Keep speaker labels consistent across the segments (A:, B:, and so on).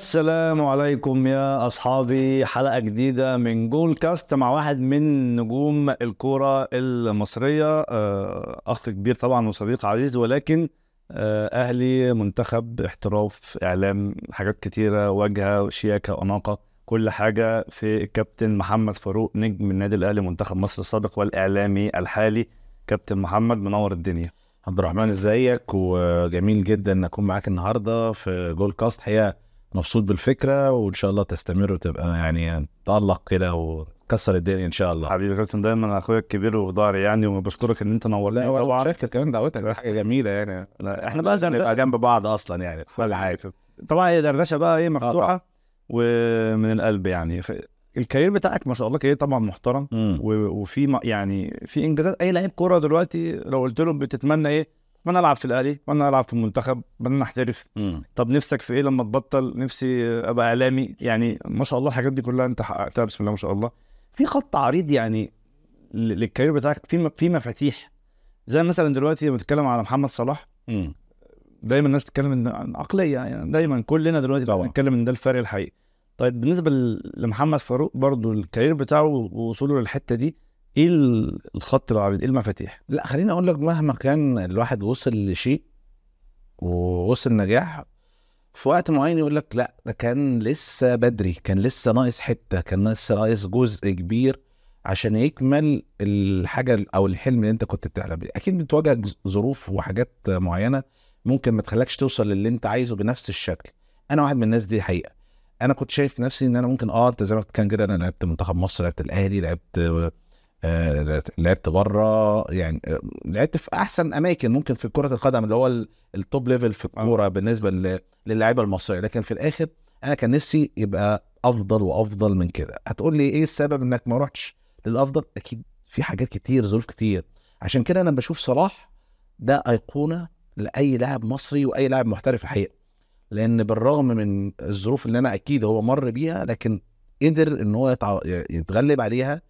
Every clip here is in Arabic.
A: السلام عليكم يا اصحابي حلقه جديده من جول كاست مع واحد من نجوم الكوره المصريه آه، اخ كبير طبعا وصديق عزيز ولكن آه، اهلي منتخب احتراف اعلام حاجات كتيره واجهه وشياكه واناقه كل حاجه في الكابتن محمد فاروق نجم النادي الاهلي منتخب مصر السابق والاعلامي الحالي كابتن محمد منور الدنيا
B: عبد الرحمن ازيك وجميل جدا ان اكون معاك النهارده في جول كاست حقيقه مبسوط بالفكره وان شاء الله تستمر وتبقى يعني تألق كده وتكسر الدنيا ان شاء الله
A: حبيبي يا كابتن دايما اخويا الكبير وفي ظهري يعني وبشكرك ان انت نورتني
B: لا ولا شكر كمان دعوتك ده حاجه جميله يعني
A: لا، احنا بقى زي
B: نبقى جنب بعض اصلا يعني ولا حاجه
A: طبعا هي دردشه بقى ايه
B: طبعاً.
A: مفتوحه ومن القلب يعني خ- الكارير بتاعك ما شاء الله كارير طبعا محترم
B: مم.
A: و- وفي م- يعني في انجازات اي لعيب كوره دلوقتي لو قلت لهم بتتمنى ايه؟ اتمنى العب في الاهلي، اتمنى العب في المنتخب، اتمنى احترف،
B: مم.
A: طب نفسك في ايه لما تبطل؟ نفسي ابقى اعلامي، يعني ما شاء الله الحاجات دي كلها انت حققتها بسم الله ما شاء الله. في خط عريض يعني ل- للكارير بتاعك في م- في مفاتيح زي مثلا دلوقتي لما بتتكلم على محمد صلاح
B: مم.
A: دايما الناس بتتكلم ان عن عقليه يعني دايما كلنا دلوقتي
B: طبعا.
A: بنتكلم ان ده الفرق الحقيقي طيب بالنسبه ل- لمحمد فاروق برضو الكارير بتاعه ووصوله للحته دي ايه ال- الخط العريض ايه المفاتيح
B: لا خليني اقول لك مهما كان الواحد وصل لشيء ووصل نجاح في وقت معين يقول لك لا ده كان لسه بدري كان لسه ناقص حته كان لسه ناقص جزء كبير عشان يكمل الحاجه او الحلم اللي انت كنت بتحلم بيه اكيد بتواجهك ز- ظروف وحاجات معينه ممكن ما تخليكش توصل للي انت عايزه بنفس الشكل انا واحد من الناس دي حقيقه انا كنت شايف نفسي ان انا ممكن اه انت زي ما كان كده انا لعبت منتخب مصر لعبت الاهلي لعبت آه، لعبت بره يعني آه، لعبت في احسن اماكن ممكن في كره القدم اللي هو ال- التوب ليفل في الكوره بالنسبه ل- للاعيبه المصريه لكن في الاخر انا كان نفسي يبقى افضل وافضل من كده هتقول لي ايه السبب انك ما رحتش للافضل اكيد في حاجات كتير ظروف كتير عشان كده انا بشوف صلاح ده ايقونه لاي لاعب مصري واي لاعب محترف الحقيقه لان بالرغم من الظروف اللي انا اكيد هو مر بيها لكن قدر ان هو يتع- يتغلب عليها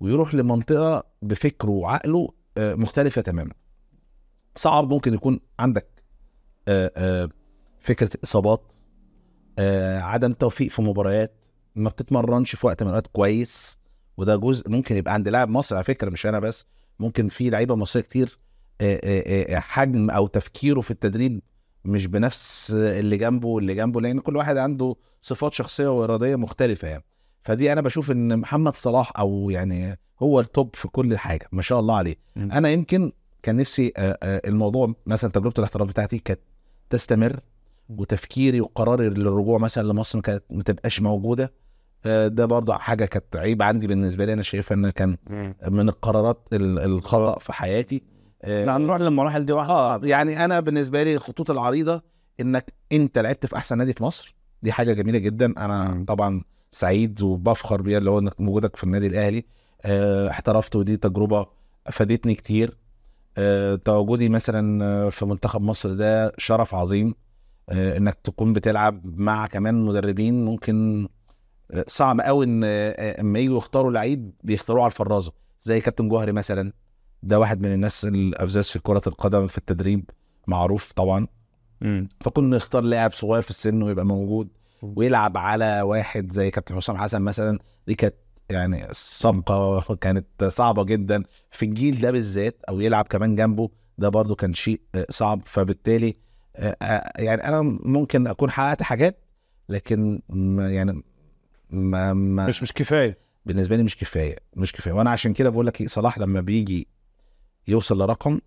B: ويروح لمنطقه بفكره وعقله آه، مختلفه تماما صعب ممكن يكون عندك آه، آه، فكره اصابات آه، عدم توفيق في مباريات ما بتتمرنش في وقت من الاوقات كويس وده جزء ممكن يبقى عند لاعب مصري على فكره مش انا بس ممكن في لعيبه مصريه كتير آه، آه، آه، حجم او تفكيره في التدريب مش بنفس اللي جنبه واللي جنبه لان كل واحد عنده صفات شخصيه واراديه مختلفه يعني فدي انا بشوف ان محمد صلاح او يعني هو التوب في كل حاجه ما شاء الله عليه
A: مم.
B: انا يمكن كان نفسي آه، آه، الموضوع مثلا تجربه الاحتراف بتاعتي كانت تستمر وتفكيري وقراري للرجوع مثلا لمصر كانت ما تبقاش موجوده آه، ده برضه حاجه كانت عيب عندي بالنسبه لي انا شايفها ان كان من القرارات ال- الخطا في حياتي آه،
A: احنا هنروح للمراحل دي واحده
B: اه يعني انا بالنسبه لي الخطوط العريضه انك انت لعبت في احسن نادي في مصر دي حاجه جميله جدا
A: مم.
B: انا طبعا سعيد وبفخر بيها اللي هو انك وجودك في النادي الاهلي آه، احترفت ودي تجربه فادتني كتير آه، تواجدي مثلا آه، في منتخب مصر ده شرف عظيم آه، انك تكون بتلعب مع كمان مدربين ممكن آه، صعب قوي ان آه، آه، اما يجوا يختاروا لعيب بيختاروه على الفرازه زي كابتن جوهري مثلا ده واحد من الناس الافزاز في كره القدم في التدريب معروف طبعا
A: مم.
B: فكنا نختار لاعب صغير في السن ويبقى موجود ويلعب على واحد زي كابتن حسام حسن مثلا دي كانت يعني سابقه كانت صعبه جدا في الجيل ده بالذات او يلعب كمان جنبه ده برضو كان شيء آه، صعب فبالتالي آه، آه، يعني انا ممكن اكون حققت حاجات لكن ما- يعني ما ما
A: مش مش كفايه
B: بالنسبه لي مش كفايه مش كفايه وانا عشان كده بقول لك إيه، صلاح لما بيجي يوصل لرقم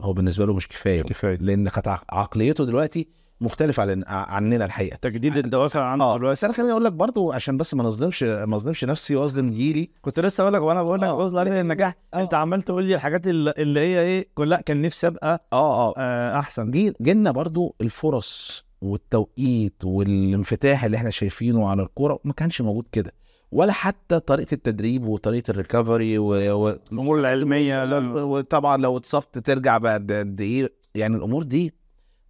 B: هو بالنسبه له مش كفايه
A: مش كفايه
B: لان كانت عق- عقليته دلوقتي مختلفه عن عننا الحقيقه
A: تجديد الدوافع عنده
B: اه
A: دلوقتي
B: بس انا خليني اقول لك برضو عشان بس ما نظلمش ما نظلمش نفسي واظلم جيلي
A: كنت لسه بقول لك وانا بقول لك
B: آه.
A: بص على النجاح
B: آه.
A: انت عمال تقول لي الحاجات اللي, اللي هي ايه كل لا كان نفسي ابقى
B: اه اه
A: آه احسن
B: جي- جيلنا برضو الفرص والتوقيت والانفتاح اللي احنا شايفينه على الكوره ما كانش موجود كده ولا حتى طريقه التدريب وطريقه الريكفري و... و...
A: الامور العلميه
B: لا، وطبعا لو اتصبت ترجع بعد قد ايه يعني الامور دي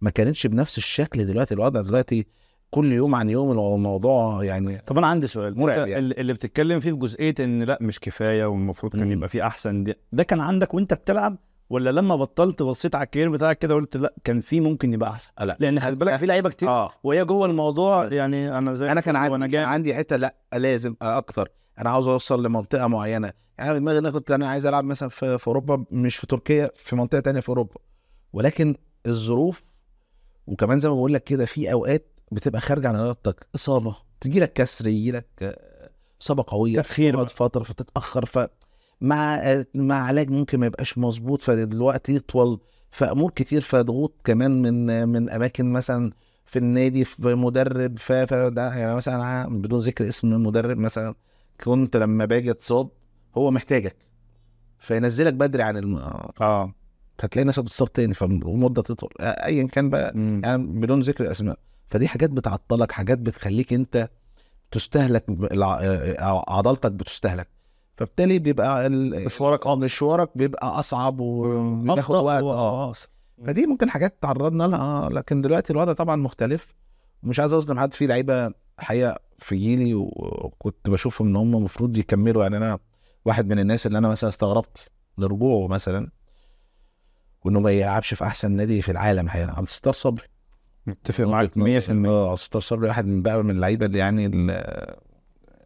B: ما كانتش بنفس الشكل دلوقتي الوضع دلوقتي كل يوم عن يوم الموضوع يعني
A: طب انا عندي سؤال
B: مرعب
A: أنت
B: يعني.
A: اللي- اللي بتتكلم فيه في جزئيه ان لا مش كفايه والمفروض كان
B: مم.
A: يبقى فيه احسن دي ده كان عندك وانت بتلعب ولا لما بطلت بصيت على الكارير بتاعك كده قلت لا كان في ممكن يبقى احسن
B: آه، لا.
A: لان خلي بالك في لعيبه كتير
B: اه
A: وهي جوه
B: أه.
A: الموضوع يعني انا زي
B: انا كان عندي
A: وانا
B: وانا
A: جاي
B: عندي حته لا لازم اكتر انا عاوز اوصل لمنطقه معينه يعني أنا دماغي إن انا كنت انا عايز العب مثلا في, في اوروبا مش في تركيا في منطقه تانية في اوروبا ولكن الظروف وكمان زي ما بقول لك كده في اوقات بتبقى خارجه عن ارادتك اصابه تجي لك كسر يجي لك اصابه قويه
A: تأخير
B: تقعد فتره فتتاخر ف مع مع علاج ممكن ما يبقاش مظبوط فالوقت يطول فامور كتير فضغوط كمان من من اماكن مثلا في النادي في مدرب ف ف- ده يعني مثلا أنا بدون ذكر اسم المدرب مثلا كنت لما باجي اتصاب هو محتاجك فينزلك بدري عن الم...
A: اه
B: فتلاقي نفسك بتتصاب تاني فالمده تطول ايا كان بقى
A: مم.
B: يعني بدون ذكر اسماء فدي حاجات بتعطلك حاجات بتخليك انت تستهلك ب- الع- آه، عضلتك بتستهلك فبالتالي بيبقى ال-
A: مشوارك أبطأ.
B: مشوارك بيبقى اصعب وبياخد
A: أبطأ
B: وقت
A: و-
B: اه فدي ممكن حاجات تعرضنا لها آه، لكن دلوقتي الوضع طبعا مختلف ومش عايز اظلم حد في لعيبه حقيقه في جيلي وكنت بشوفهم ان هم المفروض يكملوا يعني انا واحد من الناس اللي انا مثلا استغربت لرجوعه مثلا وانه ما يلعبش في احسن نادي في العالم حقيقه عبد الستار صبري
A: متفق معاك 100%
B: اه عبد الستار صبري واحد من بقى من اللعيبه اللي يعني اللي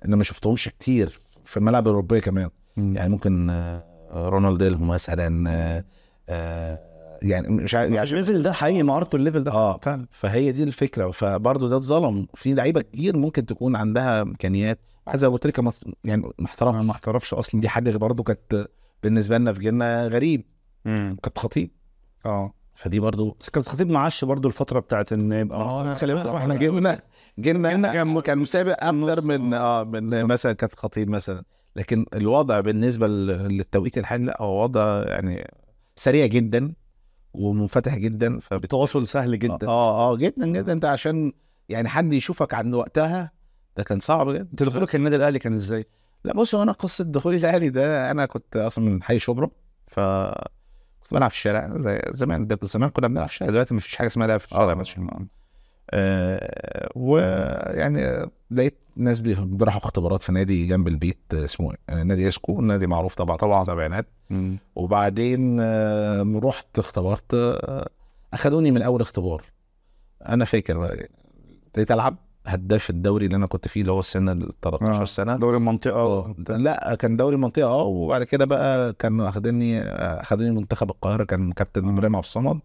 B: اللي ما شفتهمش كتير في الملاعب الاوروبيه كمان يعني ممكن آه، رونالدينهو مثلا آه، آه، يعني مش عارف يعني
A: الليفل ده حقيقي مهارته الليفل ده
B: اه
A: فعلا
B: فهي دي الفكره فبرضه ده اتظلم في لعيبه كتير ممكن تكون عندها امكانيات واحد زي ابو تريكه مص- يعني
A: انا
B: محترم
A: ما احترفش اصلا
B: دي حاجه برضه كانت بالنسبه لنا في جيلنا غريب كانت خطيب
A: اه
B: فدي برضه
A: بس كان الخطيب معاش برضه الفتره بتاعت ان يبقى
B: آه، خلي بالك احنا جيلنا
A: جيلنا
B: جيلنا
A: آه. كان-
B: كان كان مسابق اكتر من اه من مثلا كانت خطيب مثلا لكن الوضع بالنسبه لل- للتوقيت الحالي لا هو وضع يعني سريع جدا ومنفتح جدا فبت...
A: التواصل سهل جدا
B: اه اه جدا جدا انت عشان يعني حد يشوفك عند وقتها ده كان صعب جدا
A: تدخلك النادي الاهلي كان ازاي؟
B: لا بص هو انا قصه دخولي الاهلي ده انا كنت اصلا من حي شبرا ف كنت بلعب في الشارع زي زمان ده زمان كنا بنلعب في الشارع دلوقتي مفيش حاجه اسمها لعب في الشارع ماشي آه ويعني لقيت ناس بي- بيروحوا اختبارات في نادي جنب البيت اسمه آه، نادي اسكو نادي معروف طبعا طبعا سبعينات
A: مم.
B: وبعدين آه، رحت اختبرت آه، اخدوني من اول اختبار انا فاكر آه، ابتديت العب هداف الدوري اللي انا كنت فيه اللي هو السنه ال 13
A: آه.
B: سنه
A: دوري المنطقه
B: اه لا كان دوري منطقه اه وبعد كده بقى كان اخدني اخدني منتخب القاهره كان كابتن ابراهيم عبد الصمد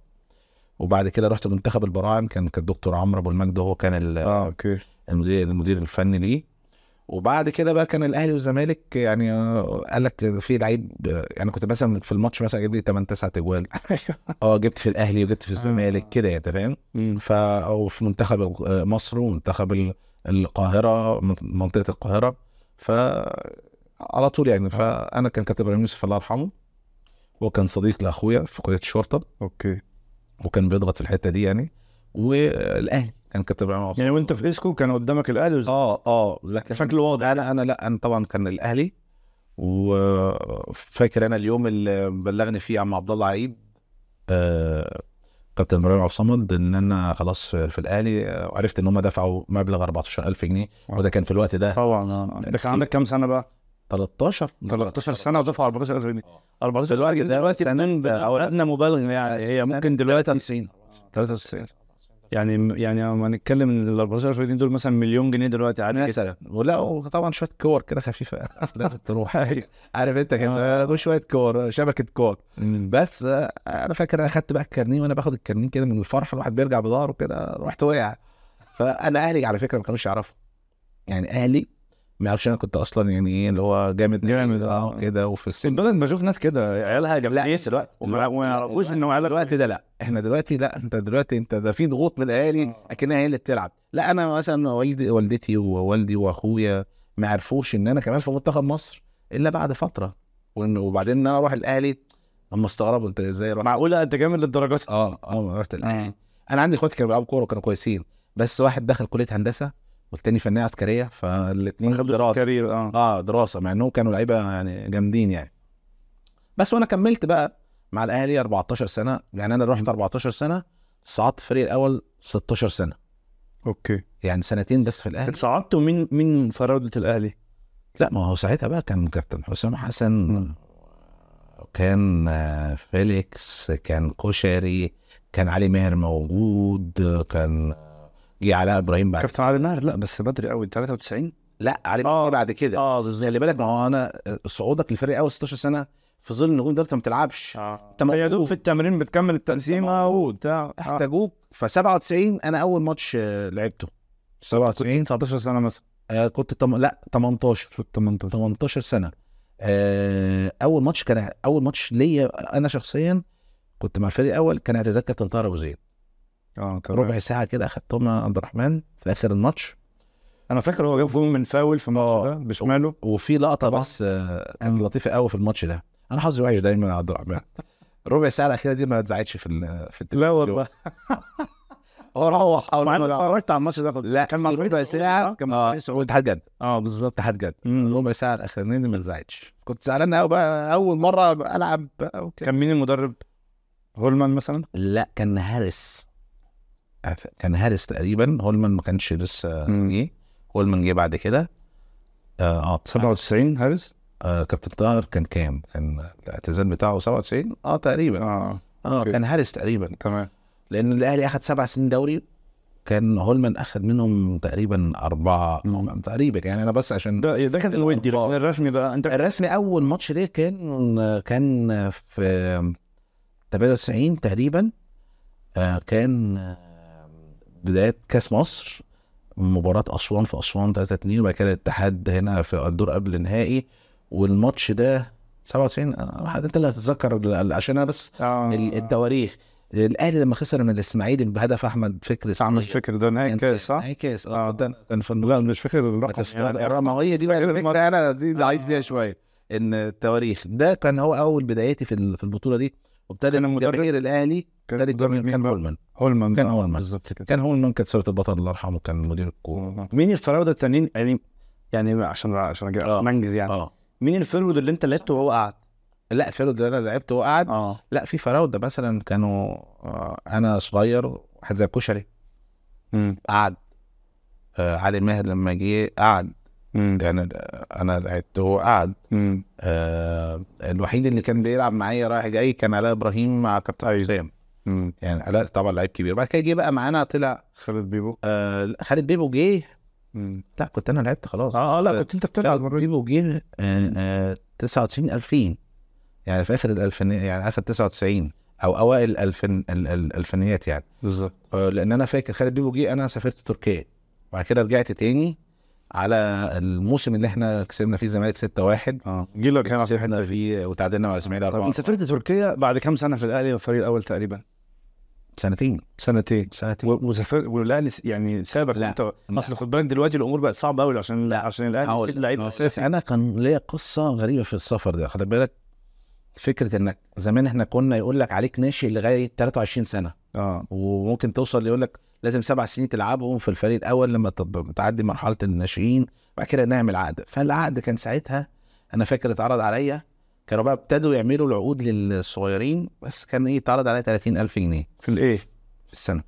B: وبعد كده رحت منتخب البراعم كان كان الدكتور عمرو ابو المجد هو كان ال-
A: اه اوكي
B: المدير المدير الفني ليه وبعد كده بقى كان الاهلي والزمالك يعني آه، قال لك في لعيب آه، يعني كنت مثلا في الماتش مثلا جايب لي 8 9 اجوال اه جبت في الاهلي وجبت في الزمالك كده يعني انت فاهم
A: مم.
B: ف او في منتخب ال- آه، مصر ومنتخب ال- القاهره من- منطقه القاهره ف على طول يعني فانا كان كابتن ابراهيم يوسف الله يرحمه هو كان صديق لاخويا في كليه الشرطه
A: اوكي
B: وكان بيضغط في الحته دي يعني والاهلي كان كابتن ابراهيم عبد
A: يعني وانت في اسكو كان قدامك الاهلي وز-
B: اه اه لكن
A: بشكل واضح
B: انا انا لا انا طبعا كان الاهلي وفاكر انا اليوم اللي بلغني فيه عم عبد الله عيد آه، كابتن ابراهيم عبد الصمد ان انا خلاص في الاهلي آه، وعرفت ان هم دفعوا مبلغ 14000 جنيه وده كان في الوقت ده
A: طبعا آه. ده كان عندك كام سنه بقى؟
B: 13
A: 13 سنه ودفع 14000 جنيه 14
B: آه. دلوقتي- دلوقتي آه.
A: سنين
B: أو-
A: ادنى مبالغه يعني هي ممكن دلوقتي
B: 93
A: 93 يعني يعني لما نتكلم ان ال 14000 جنيه دول مثلا مليون جنيه دلوقتي عادي كده
B: مثلا ولا وطبعا شويه كور كده خفيفه لازم تروح
A: أيوة.
B: عارف انت كده آه، شويه كور شبكه كور بس آه، انا فاكر انا خدت بقى الكارنيه وانا باخد الكارنيه كده من الفرحه الواحد بيرجع بظهره كده رحت وقع فانا اهلي على فكره ما كانوش يعرفوا يعني اهلي ما يعرفش انا كنت اصلا يعني ايه اللي هو جامد
A: جامد، آه.
B: اه كده وفي السن
A: البلد بشوف ناس كده عيالها جامدين
B: بس الوقت
A: وما وما يعرفوش انه عيالها
B: دلوقتي ده لا احنا دلوقتي لا انت دلوقتي انت ده في ضغوط من الاهالي
A: آه.
B: اكنها هي اللي بتلعب لا انا مثلا والدي والدتي ووالدي واخويا ما عرفوش ان انا كمان في منتخب مصر الا بعد فتره وإن- وبعدين ان انا اروح الاهلي هم استغربوا انت ازاي رحت
A: معقوله انت جامد للدرجه دي؟
B: اه اه رحت الاهلي
A: آه.
B: انا عندي اخواتي كانوا بيلعبوا كوره وكانوا كويسين بس واحد دخل كليه هندسه والتاني فنيه عسكريه فالاثنين
A: خدوا كارير اه
B: اه دراسه مع انهم كانوا لعيبه يعني جامدين يعني بس وانا كملت بقى مع الاهلي 14 سنه يعني انا رحت 14 سنه صعدت الفريق الاول 16 سنه
A: اوكي
B: يعني سنتين بس في الاهلي
A: اتصعدت ومين مين فراوده الاهلي؟
B: لا ما هو ساعتها بقى كان كابتن حسام حسن
A: مم.
B: كان آه، فيليكس كان كشري كان علي ماهر موجود آه، كان جه علاء ابراهيم بعد
A: كابتن علي ماهر لا بس بدري قوي 93
B: لا علي ماهر بعد كده
A: اه بالظبط
B: خلي بالك ما هو انا صعودك للفريق اول 16 سنه في ظل النجوم ده انت ما بتلعبش
A: اه
B: انت
A: يا دوب
B: موقوف.
A: في التمرين بتكمل التقسيمه
B: موقوف.
A: وبتاع آه.
B: احتاجوك ف 97 انا اول ماتش آه، لعبته 97
A: 19 سنه مثلا
B: آه، كنت تم... لا 18
A: في ال 18
B: 18 سنه آه، اول ماتش كان اول ماتش ليا انا شخصيا كنت مع الفريق الاول كان اعتزال كابتن طاهر ابو زيد
A: اه تمام.
B: ربع ساعه كده اخدتهم يا عبد الرحمن في اخر الماتش
A: انا فاكر هو جاب جول من فاول في الماتش
B: آه.
A: ده بشماله
B: وفي لقطه
A: طبعا.
B: بس آه، كانت
A: مم.
B: لطيفه قوي في الماتش ده انا حظي وحش دايما يا عبد الرحمن ربع ساعه الاخيره دي ما اتذاعتش في ال- في
A: لا
B: التلفزيون
A: والله
B: هو روح
A: مع
B: اول
A: اني
B: ما
A: اتفرجت على الماتش ده خد-
B: لا
A: كان مع فريق
B: ربع
A: السعودية،
B: ساعه
A: صح؟ كان
B: كان
A: مع
B: اه
A: فريق السعودية.
B: اتحاد جد
A: اه بالظبط
B: اتحاد جد
A: مم.
B: ربع ساعه الاخرانيين دي ما اتذاعتش كنت زعلان قوي بقى اول مره العب بقى وكده
A: كان مين المدرب؟ هولمان مثلا؟
B: لا كان هارس عارف- آه، كان هارس تقريبا هولمان ما كانش لسه
A: مم.
B: جه هولمان جه بعد كده اه آه،
A: 97 هارس؟
B: آه كابتن طاهر كان كام؟ كان الاعتزال بتاعه 97 اه تقريبا
A: اه
B: اه
A: أوكي.
B: كان هارس تقريبا
A: تمام
B: لان الاهلي اخد سبع سنين دوري كان هولمان اخد منهم تقريبا اربعه
A: مم.
B: تقريبا يعني انا بس عشان
A: ده ده كان الودي لكن الرسمي بقى انت
B: الرسمي اول ماتش ليه كان كان في 98 تقريبا آه، كان آه، بداية كأس مصر مباراة أسوان في أسوان 3 2 وبعد كده الاتحاد هنا في الدور قبل النهائي والماتش ده 97 آه، واحد انت اللي هتتذكر ال- عشان انا بس
A: آه.
B: ال- التواريخ الاهلي لما خسر من الاسماعيلي بهدف احمد فكري
A: صح مش فاكر ده نهائي
B: كان-
A: كاس صح؟
B: نهائي كاس اه
A: آه.
B: ده كان في النقطة
A: لا مش فاكر الرقم يعني. آه.
B: الرماويه دي بقى
A: غير
B: الفكره انا دي ضعيف فيها شويه ان التواريخ ده كان هو اول بدايتي في ال- في البطوله دي وابتدى
A: كان المدرب-
B: الجماهير الاهلي
A: كان
B: ابتدى
A: المدرب
B: الجماهير
A: مين
B: كان
A: بقى؟
B: هولمان
A: هولمان
B: كان
A: بقى.
B: هولمان.
A: بالظبط كده
B: كان هولمان كان سيره البطل الله يرحمه كان مدير الكوره
A: مين الفراوده التانيين يعني يعني عشان عشان أجي-
B: آه.
A: عشان انجز يعني
B: اه
A: مين الفراوده اللي انت لعبته وهو قاعد؟
B: لا فيرود ده انا لعبت وقعد
A: اه
B: لا في فراوده مثلا كانوا آه انا صغير واحد زي الكشري
A: امم
B: قعد آه علي ماهر لما جه قعد
A: امم
B: يعني آه، انا لعبت وهو قعد
A: امم
B: آه الوحيد اللي كان بيلعب معايا رايح جاي كان علاء ابراهيم مع كابتن حسام
A: امم
B: يعني علاء طبعا لعيب كبير بعد كده جه بقى معانا طلع
A: خالد بيبو
B: آه لا، خالد بيبو جه
A: امم
B: لا كنت انا لعبت خلاص
A: اه اه لا كنت انت
B: لا
A: بتلعب المره دي
B: بيبو جه آه آه 99 2000 يعني في اخر الالفينيات يعني اخر 99 او اوائل الالفين ال- ال- الالفينيات يعني
A: بالظبط
B: آه لان انا فاكر خالد بيبو جه انا سافرت تركيا وبعد كده رجعت تاني على الموسم اللي احنا كسبنا فيه الزمالك 6-1
A: اه جيلك هنا في
B: كسبنا
A: حته
B: فيه وتعادلنا مع الاسماعيلي
A: طب انت
B: 4
A: سافرت تركيا بعد كام سنه في الاهلي والفريق الاول تقريبا؟
B: سنتين
A: سنتين
B: سنتين
A: و- وسافر والاهلي س- يعني سابك
B: لا.
A: انت اصل خد بالك دلوقتي الامور بقت صعبه قوي عشان عشان الاهلي
B: هقول
A: في لعيب
B: لك.
A: اساسي
B: انا كان ليا قصه غريبه في السفر ده خد بالك فكره انك زمان احنا كنا يقول لك عليك ناشئ لغايه 23 سنه
A: اه
B: وممكن توصل يقول لك لازم سبع سنين تلعبهم في الفريق الاول لما تب- تعدي مرحله الناشئين بعد كده نعمل عقد فالعقد كان ساعتها انا فاكر اتعرض عليا كانوا بقى ابتدوا يعملوا العقود للصغيرين بس كان ايه اتعرض عليا 30000 جنيه
A: في الايه؟
B: في السنه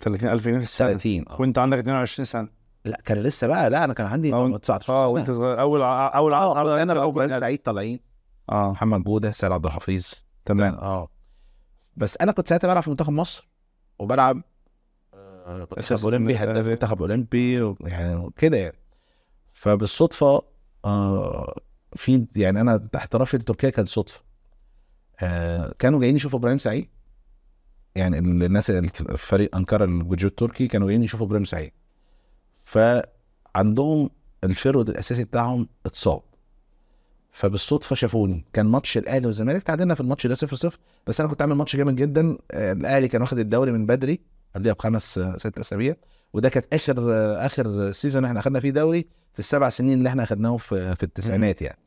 A: 30000 جنيه في السنه
B: 30 اه
A: وانت عندك 22 سنه
B: لا كان لسه بقى لا انا كان عندي
A: أو-
B: 19
A: اه
B: سنة.
A: وانت صغير اول ع- اول عرض
B: اه انا آه، بقى
A: أول
B: وبنات
A: عرض.
B: العيد طالعين
A: اه
B: محمد بوده سيد عبد الحفيظ
A: تمام
B: اه بس انا كنت ساعتها بلعب في منتخب مصر وبلعب آه،
A: أساسي
B: منتخب اولمبي
A: في
B: هداف
A: الأهلي.
B: منتخب اولمبي و- يعني كده يعني فبالصدفه آه في يعني انا احترافي لتركيا كان صدفه آه كانوا جايين يشوفوا ابراهيم سعيد يعني ال- الناس اللي في فريق انقره الجوجو التركي كانوا جايين يشوفوا ابراهيم سعيد فعندهم الفرود الاساسي بتاعهم اتصاب فبالصدفه شافوني كان ماتش الاهلي والزمالك تعادلنا في الماتش ده 0 0 بس انا كنت عامل ماتش جامد جدا آه، الاهلي كان واخد الدوري من بدري قبلها بخمس آه، ست اسابيع وده كانت اخر آه، اخر سيزون احنا اخدنا فيه دوري في السبع سنين اللي احنا اخدناهم في في التسعينات يعني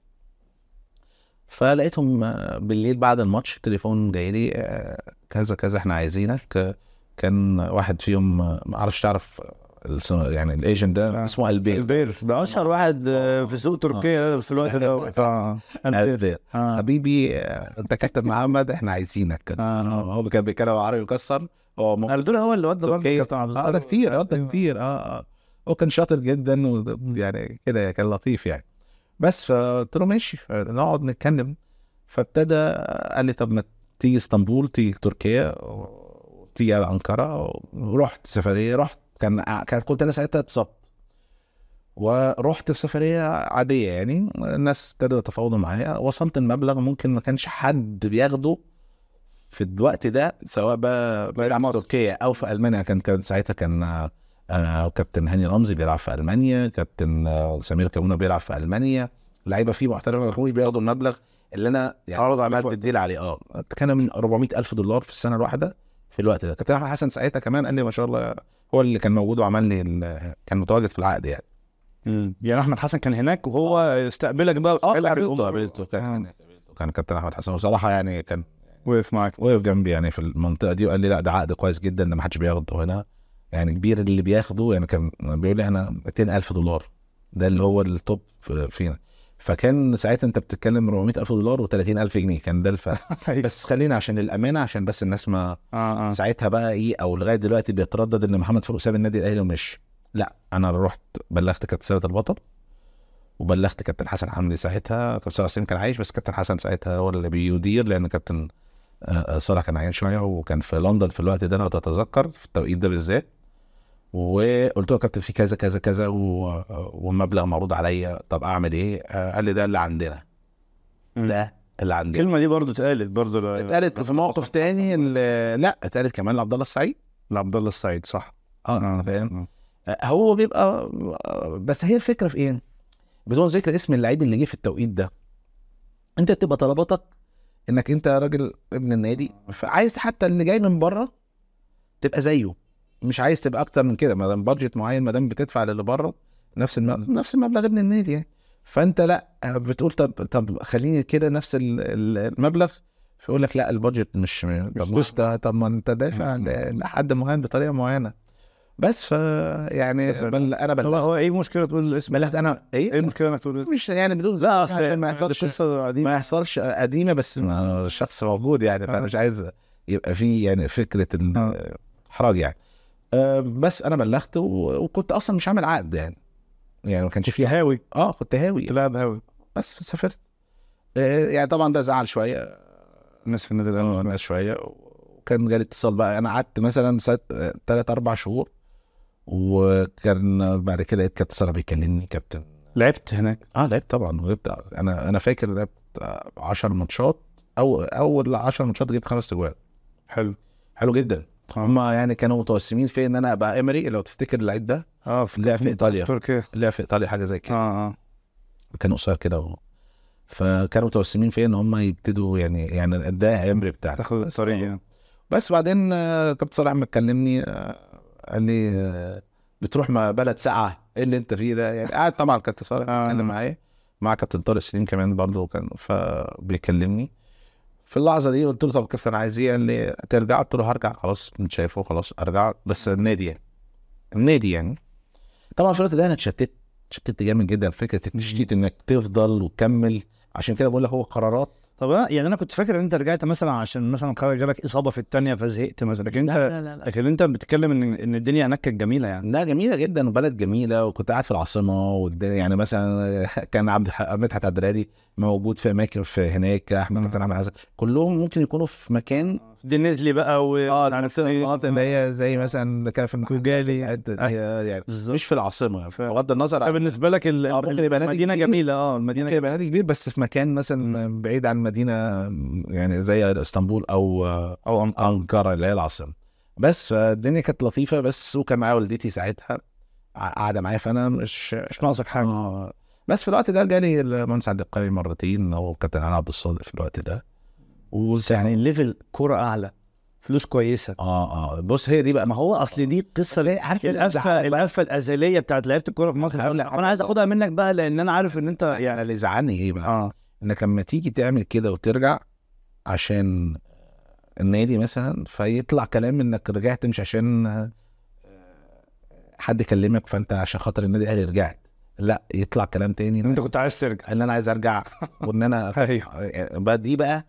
B: فلقيتهم آه، بالليل بعد الماتش تليفون جاي لي آه، كذا كذا احنا عايزينك آه، كان واحد فيهم آه، ما اعرفش تعرف آه، الس- يعني الايجنت ده
A: آه.
B: اسمه البير
A: البير ده اشهر واحد آه، في سوق تركيا في الوقت ده آه. البير.
B: البير
A: آه.
B: حبيبي آه، انت كابتن محمد احنا عايزينك
A: آه.
B: هو كان بيتكلم عربي مكسر هو ممكن
A: الدور هو اللي ودى برضه
B: تركيا.
A: كابتن عبد
B: اه ده
A: الغفور.
B: كتير اه ده
A: أيوة.
B: كتير اه اه هو كان شاطر جدا يعني. و- يعني كده كان لطيف يعني بس فقلت له ماشي نقعد نتكلم فابتدى قال لي طب ما تيجي اسطنبول تيجي تركيا و- تيجي على انقره ورحت سفريه رحت كان كان كنت انا ساعتها اتصبت ورحت في سفريه عاديه يعني الناس ابتدوا يتفاوضوا معايا وصلت المبلغ ممكن ما كانش حد بياخده في الوقت ده سواء بقى بيلعب في تركيا او في المانيا كان كان ساعتها كان آه، كابتن هاني رمزي بيلعب في المانيا كابتن آه، سمير كابونا بيلعب في المانيا لعيبه فيه محترفه ما كانوش بياخدوا المبلغ اللي انا يعني
A: عرض عليك
B: عملت
A: وقت.
B: الديل عليه اه كان من 400 الف دولار في السنه الواحده في الوقت ده كابتن احمد حسن ساعتها كمان قال لي ما شاء الله هو اللي كان موجود وعمل لي ال- كان متواجد في العقد يعني
A: مم. يعني احمد حسن كان هناك وهو استقبلك بقى
B: آه. قابلته- قابلته
A: آه.
B: كان كان كابتن احمد حسن وصراحه يعني كان
A: وقف معاك
B: وقف جنبي يعني في المنطقه دي وقال لي لا ده عقد كويس جدا ده ما حدش بياخده هنا يعني كبير اللي بياخده يعني كان بيقول لي انا 200000 دولار ده اللي هو التوب في- فينا فكان ساعتها انت بتتكلم 400000 دولار و30000 جنيه كان ده الفرق
A: بس
B: بس خلينا عشان الامانه عشان بس الناس ما
A: اه اه
B: ساعتها بقى ايه او لغايه دلوقتي بيتردد ان محمد فاروق ساب النادي الاهلي ومشي لا انا رحت بلغت كابتن ثابت البطل وبلغت كابتن حسن حمدي ساعتها كابتن صالح حسين كان عايش بس كابتن حسن ساعتها هو اللي بيدير لان كابتن آه، آه، صالح كان عيان شويه وكان في لندن في الوقت ده لو تتذكر في التوقيت ده بالذات وقلت له يا كابتن في كذا كذا كذا و- آه، والمبلغ معروض عليا طب اعمل ايه؟ آه، قال لي ده اللي عندنا
A: مم.
B: ده اللي عندنا
A: الكلمه دي برضو اتقالت برضو ل-
B: اتقالت في موقف تاني ال- لا اتقالت كمان لعبد الله السعيد
A: لعبد الله السعيد صح
B: اه انا فاهم
A: آه.
B: هو بيبقى بس هي الفكره في ايه؟ بدون ذكر اسم اللعيب اللي جه في التوقيت ده انت بتبقى طلباتك انك انت راجل ابن النادي فعايز حتى اللي جاي من بره تبقى زيه مش عايز تبقى اكتر من كده ما دام بادجت معين ما دام بتدفع للي بره نفس المبلغ نفس المبلغ ابن النادي يعني فانت لا بتقول طب طب خليني كده نفس ال- ال- المبلغ فيقول لك لا البادجت مش طب بص ده طب ما انت دافع ل- لحد معين بطريقه معينه بس ف يعني بل انا
A: طب
B: بلغت
A: هو ايه المشكله تقول الاسم
B: بلغت انا
A: ايه
B: ايه
A: المشكله انك تقول الاسم
B: مش يعني بدون ذكر عشان ما يحصلش
A: القصه قديمه
B: ما يحصلش قديمه بس ما الشخص موجود يعني فانا
A: آه.
B: مش عايز يبقى في يعني فكره
A: آه.
B: الاحراج يعني آه، بس انا بلغت و- وكنت اصلا مش عامل عقد يعني يعني ما كانش فيه
A: هاوي
B: اه كنت هاوي
A: لاعب هاوي
B: بس سافرت آه، يعني طبعا ده زعل شويه
A: الناس في النادي الاهلي
B: آه، الناس شويه وكان جالي اتصال بقى انا قعدت مثلا ثلاث اربع شهور وكان بعد كده لقيت كابتن ساره بيكلمني كابتن
A: لعبت هناك
B: اه لعبت طبعا لعبت انا انا فاكر لعبت 10 ماتشات او اول 10 ماتشات جبت خمس اجوال
A: حلو
B: حلو جدا
A: آه.
B: هم يعني كانوا متوسمين في ان انا ابقى امري لو تفتكر اللعيب ده
A: اه في
B: لعب في ايطاليا
A: تركيا
B: لعب في ايطاليا حاجه زي كده
A: اه اه
B: كان قصير كده و... فكانوا متوسمين فيا ان هم يبتدوا يعني يعني ده امري بتاعنا
A: تاخد
B: بس- آه.
A: الطريق يعني
B: بس بعدين آه، كابتن صلاح ما كلمني آه، قال لي آه، بتروح ما بلد ساقعه ايه اللي انت فيه ده يعني قاعد طبعا كابتن صلاح
A: آه.
B: اتكلم معايا مع كابتن طارق سليم كمان برضه كان فبيكلمني في اللحظه دي قلت له طب كابتن عايز ايه قال لي ترجع قلت له هرجع خلاص انت شايفه خلاص ارجع بس النادي يعني النادي يعني طبعا في الوقت ده انا اتشتت اتشتت جامد جدا فكره التشتيت انك تفضل وتكمل عشان كده بقول لك هو قرارات
A: طب أنا- يعني انا كنت فاكر ان انت رجعت مثلا عشان مثلا خرج جالك اصابه في الثانيه فزهقت مثلا لكن انت
B: لا لا
A: لكن انت بتتكلم ان ان الدنيا هناك كانت جميله يعني
B: لا جميله جدا وبلد جميله وكنت قاعد في العاصمه والدنيا يعني مثلا كان عبد الح- مدحت عبد الهادي موجود في اماكن في هناك احمد
A: آه.
B: كابتن احمد حسن كلهم ممكن يكونوا في مكان
A: دي نزلي بقى و
B: اه
A: مش عارف
B: المنطقه
A: إيه.
B: الغلط اللي هي زي مثلا اللي كان في
A: كوجالي. آه.
B: الحتة دي يعني
A: بالظبط
B: مش في العاصمه
A: ف-
B: بغض النظر عن-
A: بالنسبه لك ال-
B: آه، ممكن يبقى نادي
A: المدينه
B: كبير.
A: جميله اه المدينه
B: ممكن يبقى نادي كبير بس في مكان مثلا بعيد عن مدينه يعني زي اسطنبول او
A: او أم-
B: انقره اللي هي العاصمه بس فالدنيا كانت لطيفه بس وكان معايا والدتي ساعتها قا- قاعده معايا فانا مش
A: مش ناقصك حاجه
B: آه. بس في الوقت ده جالي المهندس عبد القوي مرتين هو الكابتن علي عبد الصادق في الوقت ده
A: بس يعني ليفل كرة اعلى فلوس كويسه
B: اه اه بص هي دي بقى
A: ما هو اصل دي القصه
B: هي عارف إيه اللي
A: الافه الافه الازليه بتاعت لعيبه الكوره في مصر
B: هقول لك.
A: انا عايز اخدها منك بقى لان انا عارف ان انت
B: يعني
A: يعني
B: اللي زعلني ايه بقى
A: اه
B: انك لما تيجي تعمل كده وترجع عشان النادي مثلا فيطلع كلام انك رجعت مش عشان آه، حد كلمك فانت عشان خاطر النادي الاهلي رجعت لا يطلع كلام تاني
A: انت كنت عايز ترجع
B: ان انا عايز ارجع وان انا
A: ايوه
B: بقى دي بقى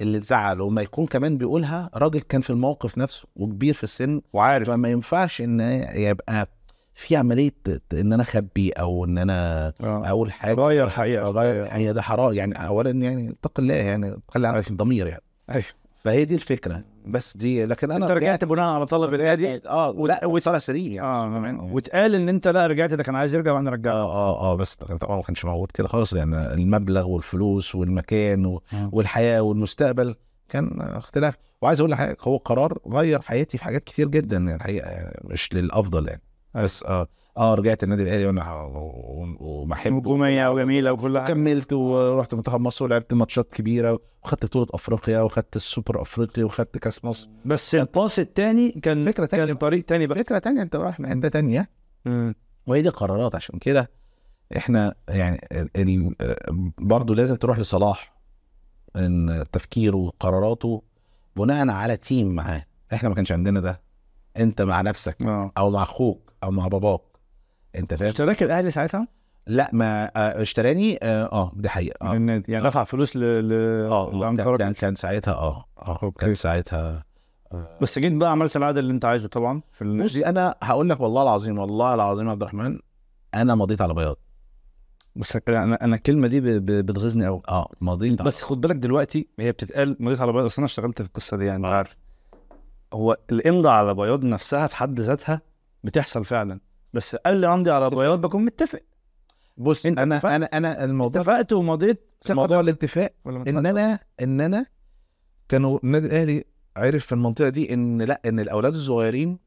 B: اللي تزعل وما يكون كمان بيقولها راجل كان في الموقف نفسه وكبير في السن
A: وعارف
B: فما ينفعش ان يبقى في عمليه ت- ان انا اخبي او ان انا
A: آه.
B: اقول حاجه
A: غير حقيقه
B: اغير يعني ده حرام يعني اولا يعني اتق الله يعني خلي عندك
A: أيوة.
B: الضمير يعني
A: أيوة.
B: فهي دي الفكره بس دي لكن انا
A: انت رجعت يعني بناء على طلب
B: البدايه
A: الادي
B: دي اه لا وصلها سليم يعني
A: اه
B: تمام.
A: واتقال ان انت لا رجعت ده كان عايز يرجع وانا رجعت
B: اه اه اه بس طبعا ما كانش موجود كده خالص يعني المبلغ والفلوس والمكان و... والحياه والمستقبل كان اختلاف وعايز اقول لحضرتك هو قرار غير حياتي في حاجات كتير جدا يعني الحقيقه يعني مش للافضل يعني بس اه اه رجعت النادي الاهلي وانا و- وبحبه
A: نجوميه وجميله وكل حاجه
B: كملت ورحت منتخب مصر ولعبت ماتشات كبيره وخدت بطوله افريقيا وخدت السوبر افريقي وخدت كاس مصر
A: بس الباص التاني كان
B: فكره تانية
A: كان طريق تاني بقى
B: فكره تانية انت رايح من عندها تانية وهي دي قرارات عشان كده احنا يعني ال- ال- برضه لازم تروح لصلاح ان تفكيره وقراراته بناء على تيم معاه احنا ما كانش عندنا ده انت مع نفسك
A: اه
B: او مع اخوك او مع باباك انت فاهم
A: اشتراك الاهلي ساعتها
B: لا ما آه، اشتراني اه, آه دي حقيقه
A: من
B: اه
A: النادي يعني آه، دفع فلوس ل ل
B: اه
A: لأنقرة.
B: كان- كان كان ساعتها اه اه
A: أوكي.
B: كان ساعتها آه.
A: بس جيت بقى عملت العدد اللي انت عايزه طبعا في
B: بص
A: النادي
B: انا هقول لك والله العظيم والله العظيم يا عبد الرحمن انا مضيت على بياض
A: بس انا انا الكلمه دي ب- ب- بتغيظني قوي
B: اه مضيت
A: بس خد بالك دلوقتي هي بتتقال مضيت على بياض اصل انا اشتغلت في القصه دي يعني انت عارف هو الامضاء على بياض نفسها في حد ذاتها بتحصل فعلا بس قال لي امضي على بياض بكون متفق
B: بص
A: انت
B: انا
A: اتفقت؟
B: انا انا الموضوع
A: اتفقت ومضيت ثقة
B: موضوع الاتفاق
A: ولا ما
B: ان
A: اتفقتش؟
B: انا ان انا كانوا النادي الاهلي عرف في المنطقه دي ان لا ان الاولاد الصغيرين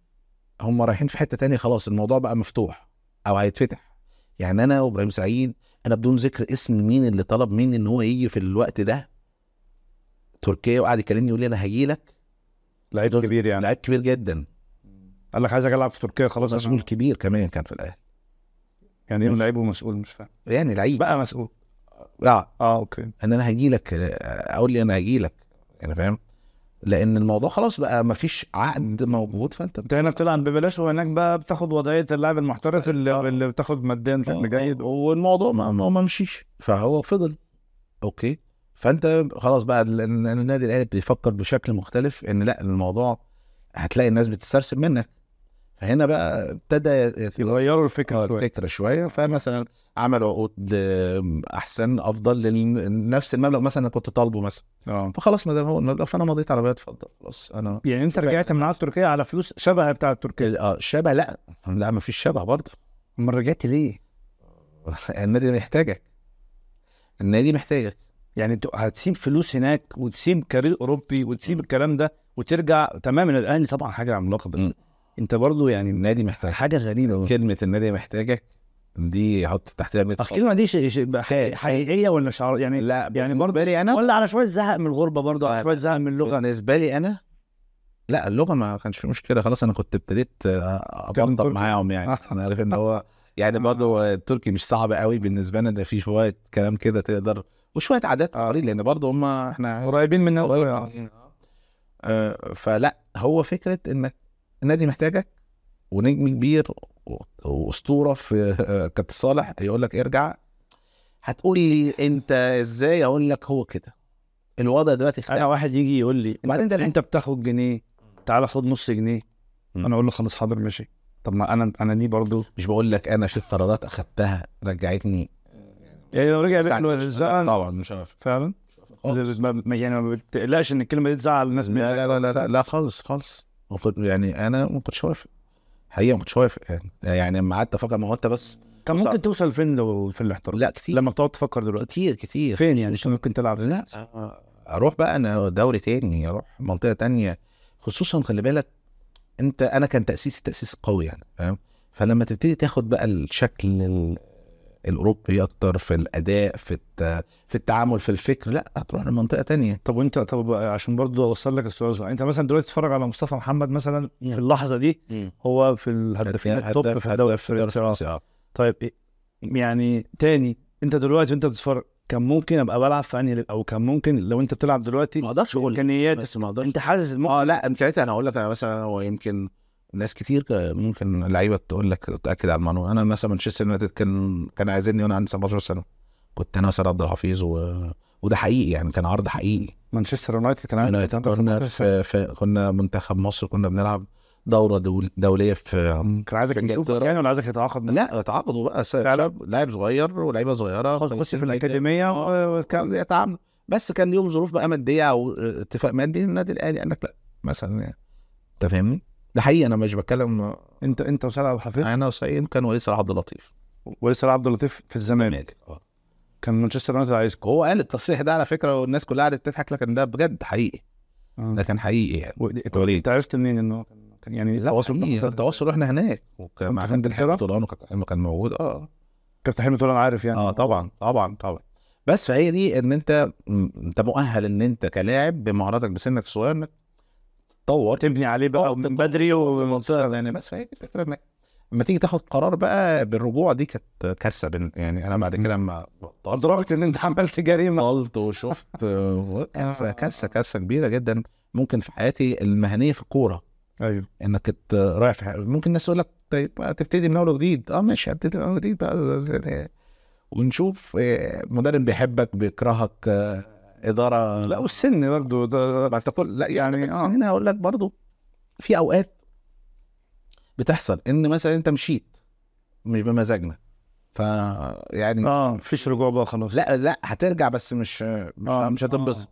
B: هم رايحين في حته تانية خلاص الموضوع بقى مفتوح او هيتفتح يعني انا وابراهيم سعيد انا بدون ذكر اسم مين اللي طلب مني ان هو يجي في الوقت ده تركيا وقعد يكلمني يقول لي انا هاجي لك
A: لعيب كبير يعني
B: لعيب كبير جدا
A: قال لك عايزك العب في تركيا خلاص أنا-
B: مسؤول كبير كمان كان في الاهلي
A: يعني ايه لعيب ومسؤول مش فاهم
B: يعني لعيب
A: بقى مسؤول
B: اه
A: اه اوكي
B: ان انا هاجي لك اقول لي انا هاجي لك يعني فاهم لان الموضوع خلاص بقى ما فيش عقد موجود فانت
A: انت هنا بتلعب ببلاش وهناك بقى بتاخد وضعيه اللاعب المحترف اللي, اللي بتاخد ماديا بشكل جيد
B: والموضوع ما, ما ما مشيش فهو فضل اوكي فانت خلاص بقى ال- ال- النادي الاهلي بيفكر بشكل مختلف ان لا الموضوع هتلاقي الناس بتسترسل منك فهنا بقى ابتدى يت-
A: يغيروا
B: آه،
A: الفكره شويه
B: الفكره شويه فمثلا عملوا عقود آه، احسن افضل لنفس المبلغ مثلا أنا كنت طالبه مثلا
A: اه
B: فخلاص ما دام هو المبلغ فانا مضيت على بيت اتفضل خلاص انا
A: يعني انت رجعت من عاد تركيا على فلوس شبه بتاع تركيا
B: ال- اه شبه لا لا ما فيش شبه برضه
A: امال رجعت ليه؟
B: النادي محتاجك النادي محتاجك
A: يعني انت هتسيب فلوس هناك وتسيب كارير اوروبي وتسيب الكلام ده وترجع تماما الاهلي طبعا حاجه عملاقه بس
B: م.
A: انت برضو يعني
B: النادي محتاجك
A: حاجه غريبه
B: كلمة النادي محتاجك دي حط تحتها 100
A: اصل الكلمه دي ش- ش- حقيقية- حقيقيه ولا شعار يعني
B: لا
A: يعني
B: بالنسبة لي انا
A: ولا على شويه زهق من الغربه برضو على
B: لا.
A: شويه زهق من اللغه
B: بالنسبة لي انا لا اللغة ما كانش في مشكلة خلاص انا كنت ابتديت آه،
A: كان
B: ابطأ
A: تركي.
B: معاهم يعني
A: آه.
B: انا عارف ان هو يعني برضه التركي مش صعب قوي بالنسبة لنا ده في شوية كلام كده تقدر وشوية عادات
A: آه.
B: تقاليد لان برضه هم احنا
A: قريبين مننا
B: قريب
A: شوية.
B: مننا. آه، فلا هو فكره انك النادي محتاجك ونجم كبير و- واسطوره في آه، كابتن صالح يقول لك ارجع هتقول لي انت ازاي اقول لك هو كده الوضع دلوقتي
A: انا
B: اختلف
A: واحد يجي يقول لي انت,
B: وبعدين ده
A: انت بتاخد جنيه تعالى خد نص جنيه
B: م.
A: انا اقول له خلاص حاضر ماشي طب ما انا انا دي برضو
B: مش بقول لك انا في قرارات اخدتها رجعتني
A: يعني لو رجع
B: ساعة-
A: بيقول
B: لا،
A: الزعل
B: طبعا مش عارف
A: فعلا
B: خالص.
A: ما- ما- يعني ما بتقلقش ان الكلمه دي تزعل الناس
B: لا لا لا لا لا, لا خالص خالص ما كنت- يعني انا ما كنتش وافق حقيقه ما كنتش وافق يعني يعني لما قعدت افكر ما هو انت بس
A: كان ممكن توصل فين لو في الاحتراف
B: لا كتير
A: لما بتقعد تفكر دلوقتي
B: كتير كتير
A: فين يعني انت ممكن تلعب
B: لا اروح آه، بقى انا دوري تاني اروح منطقه تانية خصوصا خلي بالك انت انا كان تاسيسي تاسيس قوي يعني فاهم فلما تبتدي تاخد بقى الشكل ال- الاوروبي اكتر في الاداء في الت... في التعامل في الفكر لا هتروح لمنطقه تانية
A: طب وانت طب عشان برضو اوصل لك السؤال صح انت مثلا دلوقتي تتفرج على مصطفى محمد مثلا في
B: مم.
A: اللحظه دي
B: مم.
A: هو في الهدافين
B: هداف-
A: التوب
B: هداف-
A: في الدوري
B: هداف الدوري
A: الفرنسي.
B: الفرنسي، آه.
A: طيب إيه- يعني تاني انت دلوقتي وانت بتتفرج كان ممكن ابقى بلعب في انهي ليج؟ او كان ممكن لو انت بتلعب دلوقتي
B: ما اقدرش اقول
A: امكانيات
B: بس ما اقدرش
A: انت حاسس ممكن
B: اه لا امكانياتي انا هقول لك انا مثلا هو يمكن ناس كتير ممكن لعيبه تقول لك تاكد على المعلومه انا مثلا مانشستر يونايتد كان كان عايزني وانا عندي 17 سنه كنت انا وسيد عبد الحفيظ و... وده حقيقي يعني كان عرض حقيقي
A: مانشستر يونايتد كان عامل
B: يونايتد كنا في, في كنا منتخب مصر كنا بنلعب دوره دول دوليه في
A: كان عايزك
B: كان
A: يشوفك
B: جدارة.
A: يعني ولا عايزك يتعاقد معاك
B: لا اتعاقدوا بقى س-
A: فعلا؟
B: شاب لاعب صغير ولاعيبه صغيره
A: خلاص خش في
B: كويسين جداً.
A: الاكاديميه و-
B: كان
A: وكمل
B: يتعامل بس كان ليهم ظروف بقى ماديه او اتفاق مادي النادي الاهلي قال لك لا مثلا يعني انت فاهمني؟ ده حقيقي انا مش بتكلم
A: انت انت وسعد عبد الحفيظ
B: انا وسعيد كان وليد صلاح عبد اللطيف
A: ولسه عبد اللطيف في الزمالك
B: الزمالك. آه.
A: كان مانشستر يونايتد عايزكم
B: هو قال التصريح ده على فكره والناس كلها قعدت تضحك لكن ده بجد حقيقي
A: آه.
B: ده كان حقيقي يعني
A: و- انت-
B: وليد.
A: انت عرفت منين ان هو كان- كان يعني
B: لا
A: التواصل ده
B: حقيقي
A: حصل
B: التواصل احنا هناك وكان
A: كنت
B: مع
A: في
B: حمد
A: القاهرة؟
B: الحاج طولان وكان كان موجود اه
A: كابتن حلمي طول انا عارف يعني
B: اه طبعا طبعا طبعا بس فهي دي ان انت م- انت مؤهل ان انت كلاعب بمهاراتك بسنك الصغير انك تتطور
A: تبني عليه بقى
B: آه،
A: من بدري
B: منطقه يعني بس فهي دي الفكره انك لما تيجي تاخد قرار بقى بالرجوع دي كانت كارثه بن- يعني انا بعد كده لما بطلت
A: وادركت ان انت عملت جريمه
B: بطلت وشفت آه، كارثه كارثه كارثه كبيره جدا ممكن في حياتي المهنيه في الكوره
A: ايوه
B: انك ت- رايح في حاجة. ممكن الناس تقول لك طيب بقى تبتدي من اول وجديد اه ماشي هبتدي من اول وجديد بقى يعني ونشوف آه، مدرب بيحبك بيكرهك آه، اداره
A: لا والسن برضه ده
B: ما انت كل لا يعني
A: يعني،
B: بس
A: آه.
B: هنا هقول لك برضو في اوقات بتحصل ان مثلا انت مشيت مش بمزاجنا ف يعني
A: اه مفيش رجوع بقى خلاص
B: لا لا هترجع بس مش مش,
A: آه،
B: مش هتنبسط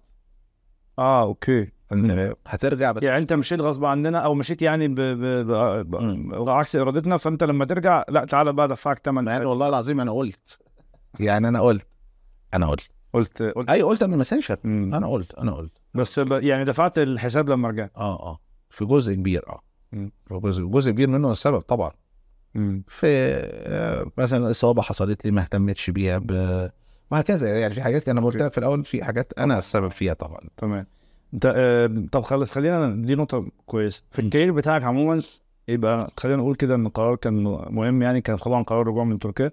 A: اه اوكي
B: انت فاهم؟ هترجع بس
A: يعني انت مشيت غصب عننا او مشيت يعني ب... ب... ب... ب...
B: مم.
A: عكس ارادتنا فانت لما ترجع لا تعالى بقى ادفعك
B: مع إن
A: ثمن
B: والله العظيم انا قلت يعني انا قلت انا قلت
A: قلت قلت
B: اي قلت انا مسافر
A: مم.
B: انا قلت انا قلت
A: بس ب... يعني دفعت الحساب لما رجعت
B: اه اه في جزء كبير اه
A: مم.
B: في جزء جزء كبير منه السبب طبعا
A: مم.
B: في آه، مثلا اصابه حصلت لي ما اهتمتش بيها ب... وهكذا يعني في حاجات انا قلت لك في الاول في حاجات انا السبب فيها طبعا
A: تمام انت آه... طب خلاص خلينا دي نقطه كويسه في الكارير بتاعك عموما يبقى خلينا نقول كده ان القرار كان مهم يعني كان طبعا قرار الرجوع من تركيا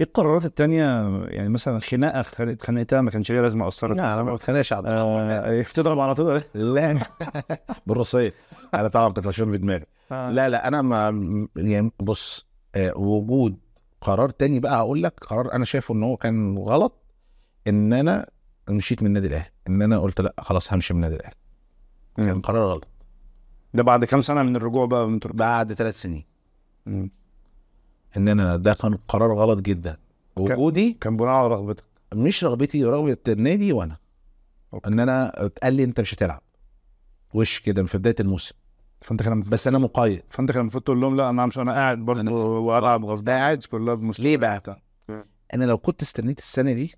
A: ايه القرارات التانية يعني مثلا خناقة خل- اتخانقتها ما كانش ليها لازمة أثرت
B: لا انا ما بتخانقش على
A: آه، بتضرب على طول
B: لا بالروسيه انا طبعا كنت بشوف بدماغي
A: آه.
B: لا لا انا ما يعني بص آه، وجود قرار تاني بقى هقول لك قرار انا شايفه ان هو كان غلط ان انا مشيت من النادي الاهلي ان انا قلت لا خلاص همشي من النادي الاهلي كان قرار غلط
A: ده بعد كام سنة من الرجوع بقى من تركيا
B: بعد ثلاث سنين
A: مم.
B: ان انا ده كان قرار غلط جدا وجودي
A: كان بناء على رغبتك
B: مش رغبتي رغبه النادي وانا
A: أوكي.
B: ان انا اتقال لي انت مش هتلعب وش كده في بدايه الموسم
A: فانت كان المفروض
B: بس انا مقيد
A: فانت كان المفروض تقول لهم لا انا مش انا قاعد برضه والعب غصب قاعد كلها بمستوى
B: ليه بقى؟
A: بتاع.
B: انا لو كنت استنيت السنه دي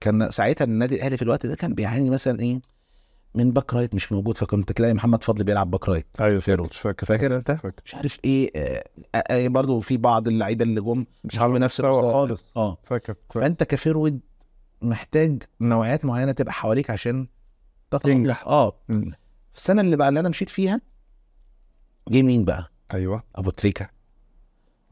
B: كان ساعتها النادي الاهلي في الوقت ده كان بيعاني مثلا ايه من باك رايت مش موجود فكنت تلاقي محمد فضل بيلعب باك رايت
A: ايوه
B: فاكر.
A: فاكر فاكر
B: فاكر انت؟
A: فاكر.
B: مش عارف ايه آه آه آه برضه في بعض اللعيبه اللي جم مش عامل نفس
A: مستوى
B: المستوى.
A: خالص.
B: اه
A: فاكر
B: فانت كفيرود محتاج نوعيات معينه تبقى حواليك عشان تطلع.
A: تنجح.
B: اه
A: مم.
B: السنه اللي بقى اللي انا مشيت فيها جه مين بقى؟
A: ايوه
B: ابو تريكه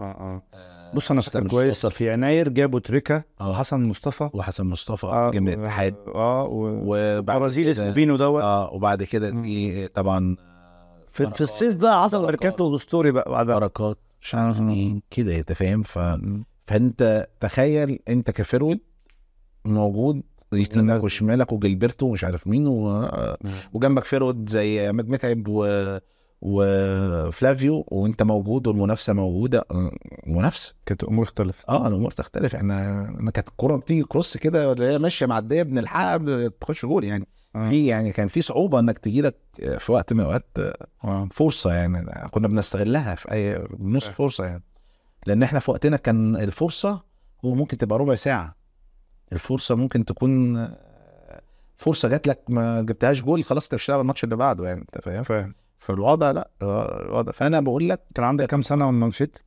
A: اه
B: آه،
A: اه بص انا
B: حسن
A: فاكر كويس
B: مصطفى.
A: في يناير جابوا تريكا
B: آه.
A: وحسن مصطفى
B: وحسن مصطفى
A: اه
B: جه من
A: و-
B: الاتحاد
A: اه و-
B: وبعد
A: برازيل اسمه
B: كده-
A: بينو دوت
B: اه وبعد كده
A: مم.
B: جه طبعا آه،
A: في,
B: بركات.
A: في الصيف بقى حصل
B: بركات.
A: ميركاتو الاسطوري بقى بعدها
B: بركات مش عارف
A: آه.
B: مين كده انت فاهم ف...
A: مم.
B: فانت تخيل انت كفيرود موجود يمينك
A: الناس دي.
B: وشمالك وجلبرتو ومش عارف مين و... وجنبك فيرود زي عماد متعب و... وفلافيو وانت موجود والمنافسه موجوده آه، منافسه
A: كانت امور اختلفت
B: اه الامور تختلف احنا انا كانت الكوره بتيجي كروس كده اللي هي ماشيه معديه بنلحقها قبل تخش جول يعني
A: آه.
B: في يعني كان في صعوبه انك تجي لك في وقت من الاوقات
A: آه.
B: فرصه يعني كنا بنستغلها في اي نص
A: فاهم.
B: فرصه يعني لان احنا في وقتنا كان الفرصه هو ممكن تبقى ربع ساعه الفرصه ممكن تكون فرصه جات لك ما جبتهاش جول خلاص انت مش هتلعب الماتش اللي بعده يعني انت فاهم
A: فاهم
B: فالوضع لا آه، الوضع فانا بقول لك
A: كان عندك كام سنه لما مشيت؟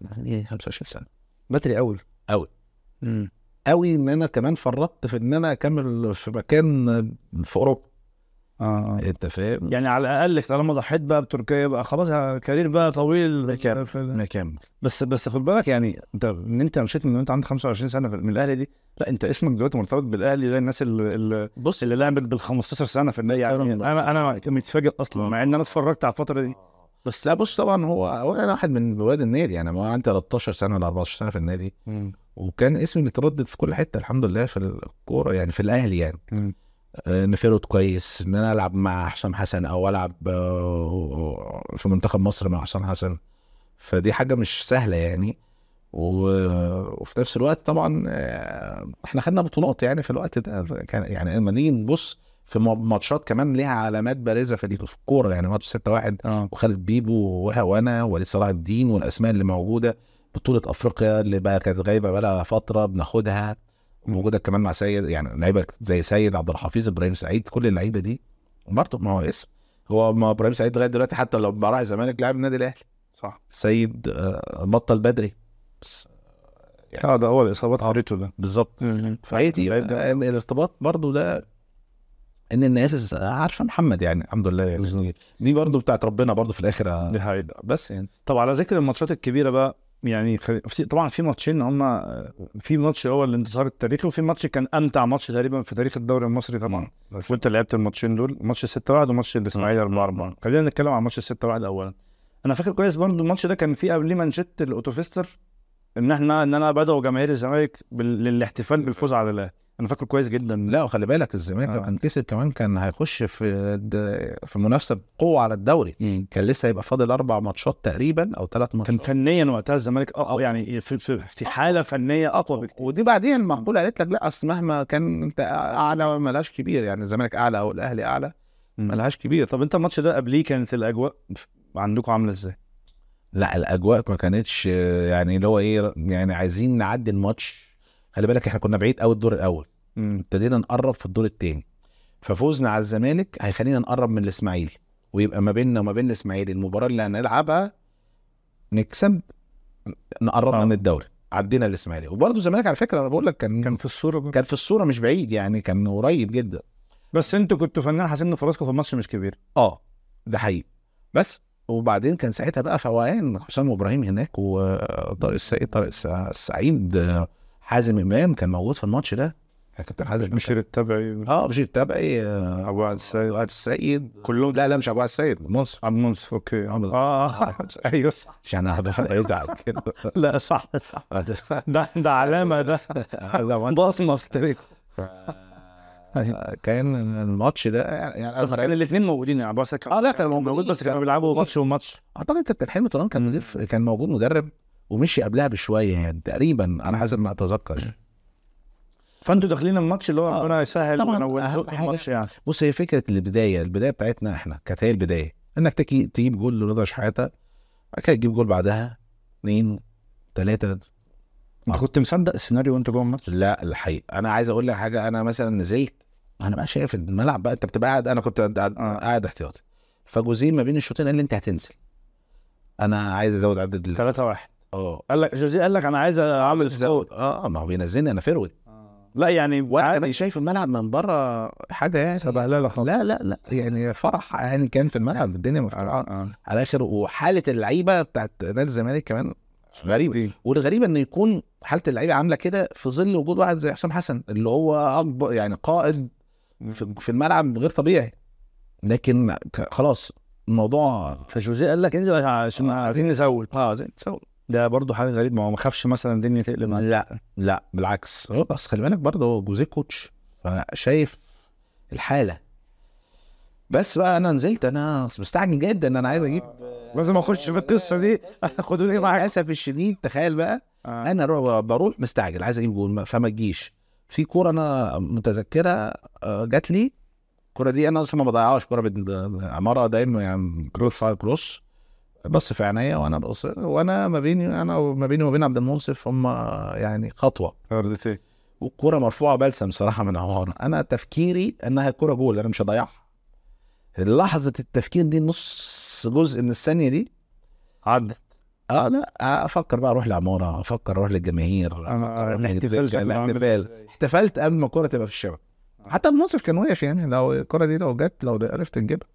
B: يعني 25 سنه
A: بدري قوي
B: أوي.
A: امم
B: قوي ان انا كمان فرطت في ان انا اكمل في مكان في اوروبا
A: اه آه.
B: انت فاهم
A: يعني على الاقل طالما ضحيت بقى بتركيا بقى خلاص ها- كارير بقى طويل
B: كام؟
A: في-
B: مكان
A: بس بس خد بالك يعني انت ان انت مشيت من وانت عندك 25 سنه في- من الاهلي دي لا انت اسمك دلوقتي مرتبط بالاهلي زي الناس اللي اللي,
B: بص
A: اللي لعبت بال 15 سنه في النادي يعني
B: أنا-
A: انا انا متفاجئ اصلا مع ان انا اتفرجت على الفتره دي
B: بس لا بص طبعا هو هو انا واحد من ولاد النادي يعني ما عندي 13 سنه ولا 14 سنه في النادي وكان اسمي متردد في كل حته الحمد لله في الكوره يعني في الاهلي يعني
A: مم.
B: آه، نفيرود كويس ان انا العب مع حسام حسن او العب آه، في منتخب مصر مع حسام حسن فدي حاجه مش سهله يعني و- وفي نفس الوقت طبعا آه، احنا خدنا بطولات يعني في الوقت ده كان يعني لما نيجي نبص في م- ماتشات كمان ليها علامات بارزه في ال- في الكوره يعني ماتش 6-1
A: اه
B: وخالد بيبو وهوانا وليد صلاح الدين والاسماء اللي موجوده بطوله افريقيا اللي بقى كانت غايبه بقى لها فتره بناخدها موجوده كمان مع سيد يعني لعيبه زي سيد عبد الحفيظ ابراهيم سعيد كل اللعيبه دي برضه ما هو اسم هو ما ابراهيم سعيد لغايه دلوقتي حتى لو راح الزمالك لاعب النادي الاهلي
A: صح
B: سيد آه، بطل بدري بس يعني-
A: اه ده هو الاصابات عريته ده
B: بالظبط فهي دي
A: اللعيب ده-
B: آه، الارتباط برضو ده ان الناس عارفه محمد يعني الحمد لله يعني دي برضو بتاعت ربنا برضو في الاخر آه،
A: دي حقيقة
B: بس يعني
A: طب على ذكر الماتشات الكبيره بقى يعني خل- في- طبعا في ماتشين هم في ماتش هو الانتصار التاريخي وفي ماتش كان امتع ماتش تقريبا في تاريخ الدوري المصري طبعا وانت لعبت الماتشين دول ماتش 6 1 وماتش الاسماعيلي 4 4 خلينا نتكلم عن ماتش 6 1 اولا انا فاكر كويس برضو الماتش ده كان فيه قبليه منشط الاوتوفيستر ان احنا ان انا بدأوا جماهير الزمالك بال- للاحتفال بالفوز على الاهلي انا فاكر كويس جدا
B: لا وخلي بالك الزمالك لو
A: آه.
B: كان كسب كمان كان هيخش في الد- في منافسه بقوه على الدوري كان لسه هيبقى فاضل اربع ماتشات تقريبا او ثلاث
A: كان
B: ماتشات
A: فنيا وقتها الزمالك اقوى يعني في في- في حاله فنيه اقوى بكتير آه.
B: ودي بعدين المقوله قالت لك لا اصل مهما كان انت اعلى ملهاش كبير يعني الزمالك اعلى او الاهلي اعلى ملهاش كبير
A: طب انت الماتش ده قبليه كانت الاجواء عندكم عامله ازاي؟
B: لا الاجواء ما كانتش آه، يعني اللي هو ايه يعني عايزين نعدي الماتش خلي بالك احنا كنا بعيد قوي الدور الاول ابتدينا نقرب في الدور الثاني ففوزنا على الزمالك هيخلينا نقرب من الاسماعيلي ويبقى ما بيننا وما بين الاسماعيلي المباراه اللي هنلعبها نكسب نقربنا
A: آه.
B: من الدوري عدينا الاسماعيلي وبرضه الزمالك على فكره انا بقول لك كان
A: كان
B: كان
A: في الصوره برضه.
B: كان في الصوره مش بعيد يعني كان قريب جدا
A: بس انتوا كنتوا فنانين حاسين ان فرصكم في الماتش مش كبير
B: اه ده حقيقي بس وبعدين كان ساعتها بقى فوقان حسام وابراهيم هناك وطارق السعيد طارق السع- السعيد آه، حازم امام كان موجود في الماتش ده كابتن حازم إمام
A: مشير التبعي
B: كان- اه مشير تبعي آه،
A: ابو عبد السيد
B: عبد السيد
A: كلهم
B: لا لا مش ابو عبد السيد منصف
A: عبد المنصف اوكي
B: عبد المنصف.
A: اه ايوه صح
B: عشان هبقى يزعل كده
A: لا صح صح ده ده علامه ده
B: هذا وان-
A: بصمه في التاريخ
B: آه، كان الماتش ده يعني
A: أيوه. بس كان
B: أنا-
A: الاثنين موجودين يعني ابو عبد السيد كان
B: اه لا آه. كان
A: موجود
B: موجود
A: بس كانوا بيلعبوا ماتش وماتش
B: اعتقد كابتن حلمي طيران كان مدير كان موجود مدرب ومشي قبلها بشويه يعني تقريبا على حسب ما اتذكر يعني.
A: فانتوا داخلين الماتش اللي هو
B: آه،
A: ربنا يسهل
B: طبعاً
A: ونور
B: أهم
A: لكم
B: حاجة-
A: الماتش يعني
B: بص هي فكره البدايه البدايه بتاعتنا احنا كانت هي البدايه انك تكي تجيب جول لرضا شحاته بعد كده تجيب جول بعدها اثنين ثلاثه
A: انت كنت مصدق السيناريو وانت جوه الماتش؟
B: لا الحقيقه انا عايز اقول لك حاجه انا مثلا نزلت انا بقى شايف الملعب بقى انت بتبقى قاعد انا كنت قاعد- قاعد
A: آه.
B: قاعد احتياطي فجوزين ما بين الشوطين قال لي انت هتنزل انا عايز ازود عدد ال-
A: 3 1
B: اه
A: قال لك جوزيه قال لك انا عايز اعمل سكور
B: زود اه ما هو بينزلني انا فروت
A: لا يعني
B: وانا
A: عادي.
B: آه. كمان شايف الملعب من بره حاجه يعني
A: سبهلله خالص
B: لا لا لا يعني فرح يعني كان في الملعب الدنيا مفتوحه
A: اه
B: على الاخر وحاله اللعيبه بتاعت نادي الزمالك كمان غريبه
A: دي.
B: والغريب ان يكون حاله اللعيبه عامله كده في ظل وجود واحد زي حسام حسن اللي هو أكبر- يعني قائد في في الملعب غير طبيعي لكن ك- خلاص الموضوع
A: فجوزيه قال لك انزل عشان آه، عايزين نزود
B: اه زي تساوي
A: ده برضو حاجه غريبه ما هو ما خافش مثلا الدنيا تقلب عليه
B: لا لا بالعكس هو بس خلي بالك برضه هو جوزيه كوتش فشايف الحاله بس بقى انا نزلت انا مستعجل جدا انا عايز اجيب
A: لازم اخش في القصه دي خدوني معاك
B: للاسف الشديد تخيل بقى
A: آه.
B: انا رو- بروح مستعجل عايز اجيب جول ما- فما تجيش في كوره انا متذكره آه، جات لي الكوره دي انا اصلا ما بضيعهاش كوره بالعماره دايما يعني كروس كروس بص في عينيا وانا بص وانا ما بيني انا وما بيني وما بين عبد المنصف هم يعني خطوه
A: فردتين
B: والكوره مرفوعه بلسم صراحه من عماره انا تفكيري انها كوره جول انا مش هضيعها لحظه التفكير دي نص جزء من الثانيه دي
A: عدى
B: اه لا افكر بقى اروح العماره افكر اروح للجماهير أفكر
A: انا
B: أروح
A: الاحتفال آه، كان عامل
B: الاحتفال
A: إزاي؟
B: احتفلت قبل ما الكوره تبقى في الشبكه حتى المنصف كان واقف يعني لو الكوره دي لو جت لو عرفت نجيبها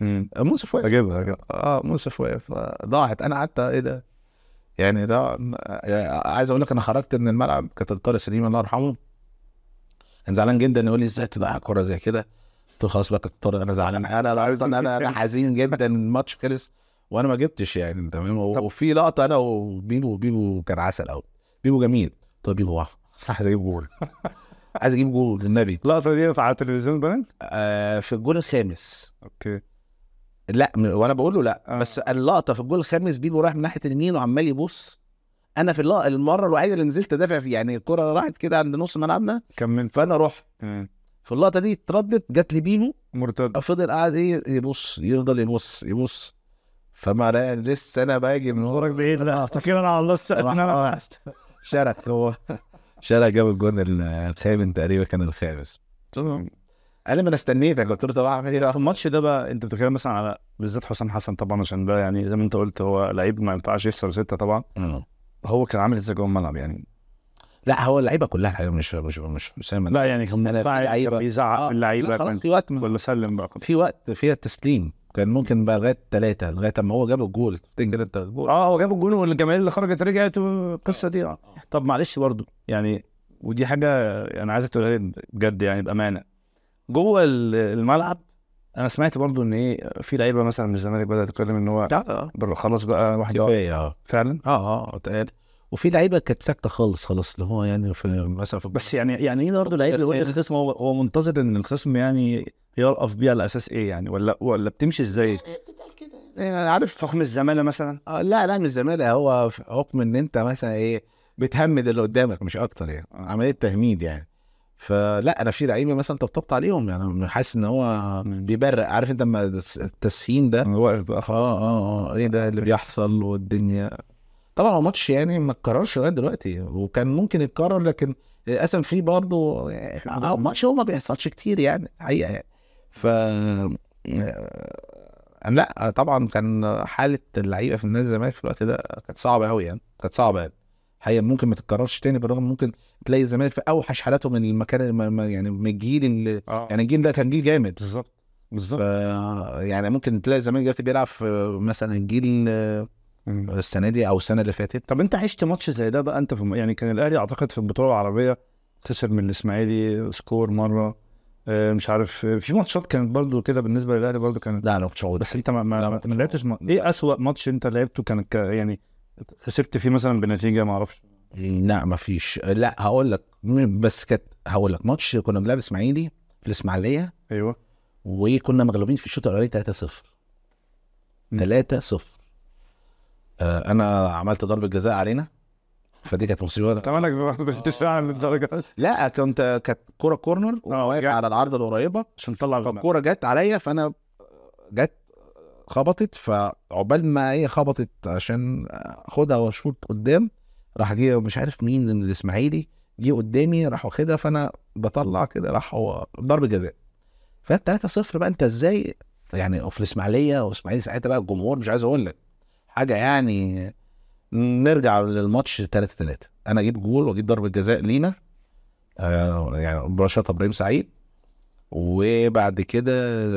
A: مم.
B: المنصف واقف
A: اجيبها أجيبها.
B: اه منصف واقف آه، ضاعت انا قعدت ايه ده يعني ده آه، عايز اقول لك انا خرجت من الملعب كابتن طارق سليم الله يرحمه كان زعلان جدا يقول لي ازاي تضيع كوره زي كده قلت له خلاص بقى كابتن طارق انا زعلان انا أنا اصلا انا انا حزين جدا الماتش خلص وانا ما جبتش يعني تمام و-
A: طب.
B: وفي لقطه انا وبيبو بيبو كان عسل قوي بيبو جميل قلت له بيبو واقف صح زي جول عايز اجيب جول النبي
A: اللقطه دي على التلفزيون بنت
B: آه في الجول الخامس
A: اوكي
B: لا م- وانا بقول له لا
A: آه.
B: بس اللقطه في الجول الخامس بيبو رايح من ناحيه اليمين وعمال يبص انا في اللقطه المره الوحيده اللي نزلت ادافع فيها يعني الكره راحت كده عند نص ملعبنا
A: كملت
B: فانا رحت
A: تمام.
B: في اللقطه دي اتردت جت لي بيبو
A: مرتد
B: فضل قاعد ايه يبص يفضل يبص يبص فما لا لسه انا باجي من ورا
A: بعيد لا افتكر انا على الله
B: راح- آه، شارك هو شارك جاب الجون ال- الخامس تقريبا كان الخامس قال لي ما انا استنيتك قلت له طب اعمل ايه
A: في
B: بقى؟
A: الماتش ده بقى انت بتتكلم مثلا على بالذات حسام حسن طبعا عشان ده يعني زي ما انت قلت هو لعيب ما ينفعش يخسر سته طبعا هو كان عامل ازاي جوه الملعب يعني
B: لا هو اللعيبه كلها الحقيقه مش مش مش حسام
A: لا يعني كان
B: أنا في
A: منفعل
B: لعيبة-
A: كان بيزعق في
B: لا
A: اللعيبه
B: خلاص
A: كان-
B: في وقت ما
A: ولا سلم بقى
B: في وقت فيها التسليم كان ممكن بقى لغايه ثلاثه لغايه اما هو جاب الجول تفتكر انت الجول
A: اه هو جاب الجون والجماهير اللي خرجت رجعت والقصه دي اه طب معلش برضو يعني ودي حاجه انا عايزك تقولها لي بجد يعني بامانه جوه ال- الملعب انا سمعت برضو ان ايه في لعيبه مثلا من الزمالك بدات تتكلم ان هو
B: اه
A: بر- خلاص بقى واحد يقف.
B: كفايه اه
A: فعلا
B: اه اه اتقال وفي لعيبه كانت ساكته خالص خلاص اللي هو يعني في مثلا في
A: بس يعني يعني ايه برضه لعيب يقول للخصم هو هو منتظر ان الخصم يعني يرقف بيه على اساس ايه يعني ولا ولا بتمشي ازاي؟
B: بتتقال كده
A: آه،
B: يعني أنا عارف
A: فخم الزماله مثلا
B: آه لا لا مش زمالة هو في حكم ان انت مثلا ايه بتهمد اللي قدامك مش اكتر يعني عمليه تهميد يعني فلا انا في لعيبه مثلا طبطبت عليهم يعني أنا حاسس ان هو بيبرق عارف انت لما التس- التسخين ده
A: أنا واقف بقى خلاص
B: اه اه اه ايه ده اللي بيحصل والدنيا طبعا هو ماتش يعني ما اتكررش لغايه دلوقتي وكان ممكن يتكرر لكن للاسف في برضه آه، ماتش هو ما بيحصلش كتير يعني حقيقه يعني ف آه، لا طبعا كان حاله اللعيبه في النادي الزمالك في الوقت ده كانت صعبه قوي يعني كانت صعبه يعني حقيقه ممكن ما تتكررش تاني بالرغم ممكن تلاقي الزمالك في اوحش حالاته من المكان الم- الم- يعني من الجيل اللي
A: اه
B: يعني الجيل ده كان جيل جامد
A: بالظبط بالظبط
B: ف- يعني ممكن تلاقي الزمالك دلوقتي بيلعب في مثلا الجيل
A: مم.
B: السنه دي او السنه اللي فاتت
A: طب انت عشت ماتش زي ده بقى انت في الم- يعني كان الاهلي اعتقد في البطوله العربيه خسر من الاسماعيلي سكور مره آه، مش عارف آه، في ماتشات كانت برضو كده بالنسبه للاهلي برضو كانت
B: لا انا ما كنتش موجود
A: بس انت ما ما,
B: لا،
A: ما,
B: ما-
A: ما لعبتش ما... ايه اسوأ ماتش انت لعبته كان ك... يعني خسرت فيه مثلا بنتيجه ما اعرفش
B: لا ما فيش لا هقول لك م- بس كانت هقول لك ماتش كنا بنلعب اسماعيلي في الاسماعيليه
A: ايوه
B: وكنا مغلوبين في الشوط الاولاني 3-0 3-0 آه انا عملت ضربه جزاء علينا فدي كانت مصيبه
A: اتمنى
B: آه.
A: بتتفاعل للدرجه
B: لا كنت كانت كوره كورنر
A: اه،
B: واقف
A: جا-
B: على العارضه القريبه
A: عشان تطلع بالمعنى.
B: فالكوره جت عليا فانا جت خبطت فعقبال ما هي خبطت عشان اخدها واشوط قدام راح جه مش عارف مين من الاسماعيلي جه قدامي راح واخدها فانا بطلع كده راح هو ضرب جزاء فالتلاتة صفر بقى انت ازاي يعني في الاسماعيليه واسماعيلي ساعتها بقى الجمهور مش عايز اقول لك حاجه يعني نرجع للماتش 3 3 انا اجيب جول واجيب ضربه جزاء لينا آه يعني برشاطه ابراهيم سعيد وبعد كده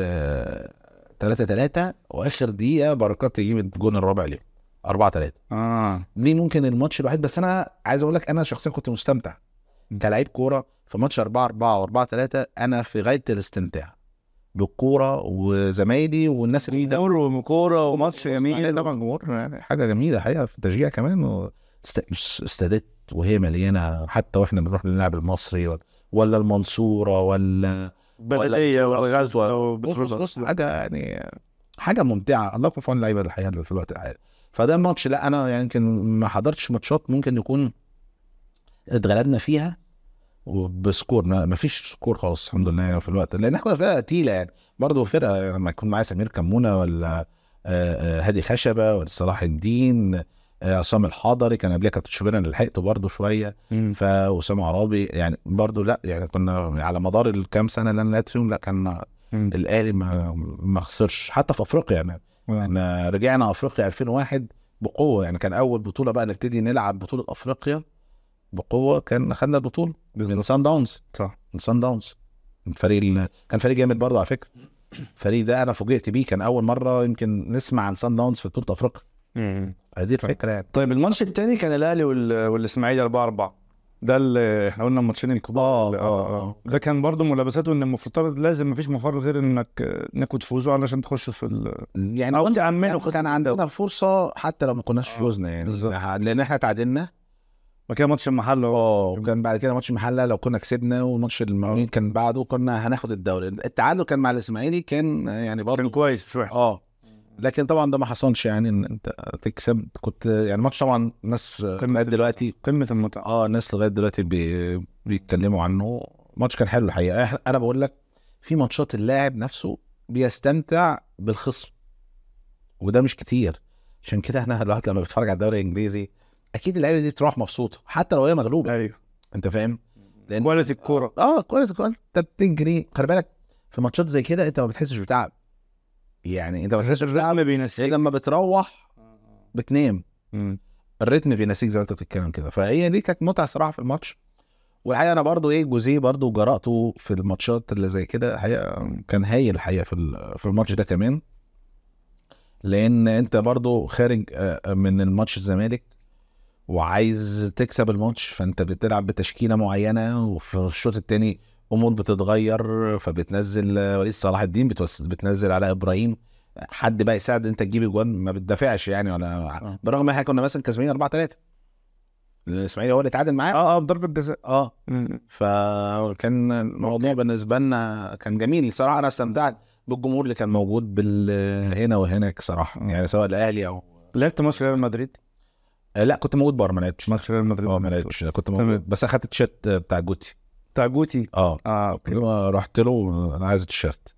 B: آه، تلاتة تلاتة واخر دقيقه بركات يجيب الجون الرابع ليه أربعة تلاتة
A: اه
B: دي ممكن الماتش الوحيد بس انا عايز اقول لك انا شخصيا كنت مستمتع
A: م.
B: كلاعب كوره في ماتش 4 4 و4 3 انا في غايه الاستمتاع بالكوره وزمايلي والناس اللي ده
A: دوري وكوره وماتش جميل
B: طبعا جمهور يعني حاجه جميله حقيقه في التشجيع كمان و- است- استادات وهي مليانه حتى واحنا بنروح نلعب المصري ولا- ولا المنصوره ولا
A: بدنيه والغزوه
B: بص بص بص حاجه يعني حاجه ممتعه الله يكون في عون اللعيبه الحقيقه اللي في الوقت الحالي فده الماتش لا انا يعني يمكن ما حضرتش ماتشات ممكن يكون اتغلبنا فيها وبسكور ما ما فيش سكور خالص الحمد لله يعني في الوقت لان احنا كنا فرقه تقيله يعني برضه فرقه يعني لما يكون معايا سمير كمونه ولا آه، آه، هادي خشبه ولا صلاح الدين آه، عصام الحضري كان قبلها كابتن شوبير انا لحقته برضه شويه
A: مم.
B: فاسامه عرابي يعني برضو لا يعني كنا على مدار الكام سنه اللي انا لعبت فيهم لا كان
A: مم.
B: الاهلي ما ما خسرش حتى في افريقيا يعني احنا رجعنا افريقيا 2001 بقوه يعني كان اول بطوله بقى نبتدي نلعب بطوله افريقيا بقوه كان خدنا البطوله من
A: بالظبط
B: سان داونز
A: صح
B: من سان داونز الفريق ال- كان فريق جامد برضه على فكره الفريق ده انا فوجئت بيه كان اول مره يمكن نسمع عن سان داونز في بطوله افريقيا
A: مم.
B: دي الفكره يعني
A: طيب الماتش الثاني كان الاهلي وال- والاسماعيلي 4 4 ده اللي احنا قلنا الماتشين الكبار آه،
B: اه
A: ده كان برضو ملابساته ان المفترض لازم مفيش مفر غير انك آه، انكم تفوزوا علشان تخشوا في ال...
B: يعني
A: او
B: قلت
A: تامنوا
B: كان
A: خسارة
B: عندنا فرصه حتى لو ما كناش فوزنا يعني
A: آه. بالظبط.
B: لان احنا تعادلنا
A: ما كان ماتش المحل هو
B: اه وكان بعد كده ماتش المحله لو كنا كسبنا والماتش المقاولين كان بعده كنا هناخد الدوري التعادل كان مع الاسماعيلي كان يعني
A: كان
B: برضه
A: كويس مش وحش
B: اه لكن طبعا ده ما حصلش يعني ان انت تكسب كنت يعني ماتش طبعا الناس
A: قمة
B: لغايه دلوقتي
A: قمه المتعه
B: اه الناس لغايه دلوقتي بي... بيتكلموا عنه ماتش كان حلو الحقيقه إح- انا بقول لك في ماتشات اللاعب نفسه بيستمتع بالخصم وده مش كتير عشان كده احنا الواحد لما بيتفرج على الدوري الانجليزي اكيد اللعيبه دي بتروح مبسوطه حتى لو هي مغلوبه
A: ايوه
B: انت فاهم لأن-
A: كواليتي الكوره
B: اه كويس كويس انت بتجري خلي بالك في ماتشات زي كده انت ما بتحسش بتعب يعني انت ما بتحسش بتعب
A: الرقم
B: إيه
A: بينسيك
B: لما بتروح بتنام
A: مم.
B: الريتم بينسيك زي ما انت بتتكلم كده فهي دي كانت متعه صراحه في الماتش والحقيقه انا برضو ايه جوزيه برضو جرأته في الماتشات اللي زي كده الحقيقه كان هايل الحقيقه في ال- في الماتش ده كمان لان انت برضو خارج آه، من الماتش الزمالك وعايز تكسب الماتش فانت بتلعب بتشكيله معينه وفي الشوط الثاني امور بتتغير فبتنزل آه، وليد صلاح الدين بتوس- بتنزل على ابراهيم حد بقى يساعد انت تجيب اجوان ما بتدافعش يعني ولا
A: آه.
B: برغم ان احنا كنا مثلا كسبانين 4 3 الاسماعيلي هو اللي اتعادل معاه
A: اه اه بضربه جزاء
B: اه
A: مم.
B: فكان الموضوع بالنسبه لنا كان جميل صراحه انا استمتعت بالجمهور اللي كان موجود بال هنا وهناك صراحه يعني سواء الاهلي او
A: لعبت ماتش ريال مدريد
B: آه، لا كنت موجود بره ما لعبتش
A: ماتش ريال مدريد
B: اه ما لعبتش كنت
A: تمام.
B: موجود بس اخدت التيشيرت بتاع جوتي
A: بتاع جوتي
B: اه
A: اه اوكي
B: لما رحت له انا عايز التيشيرت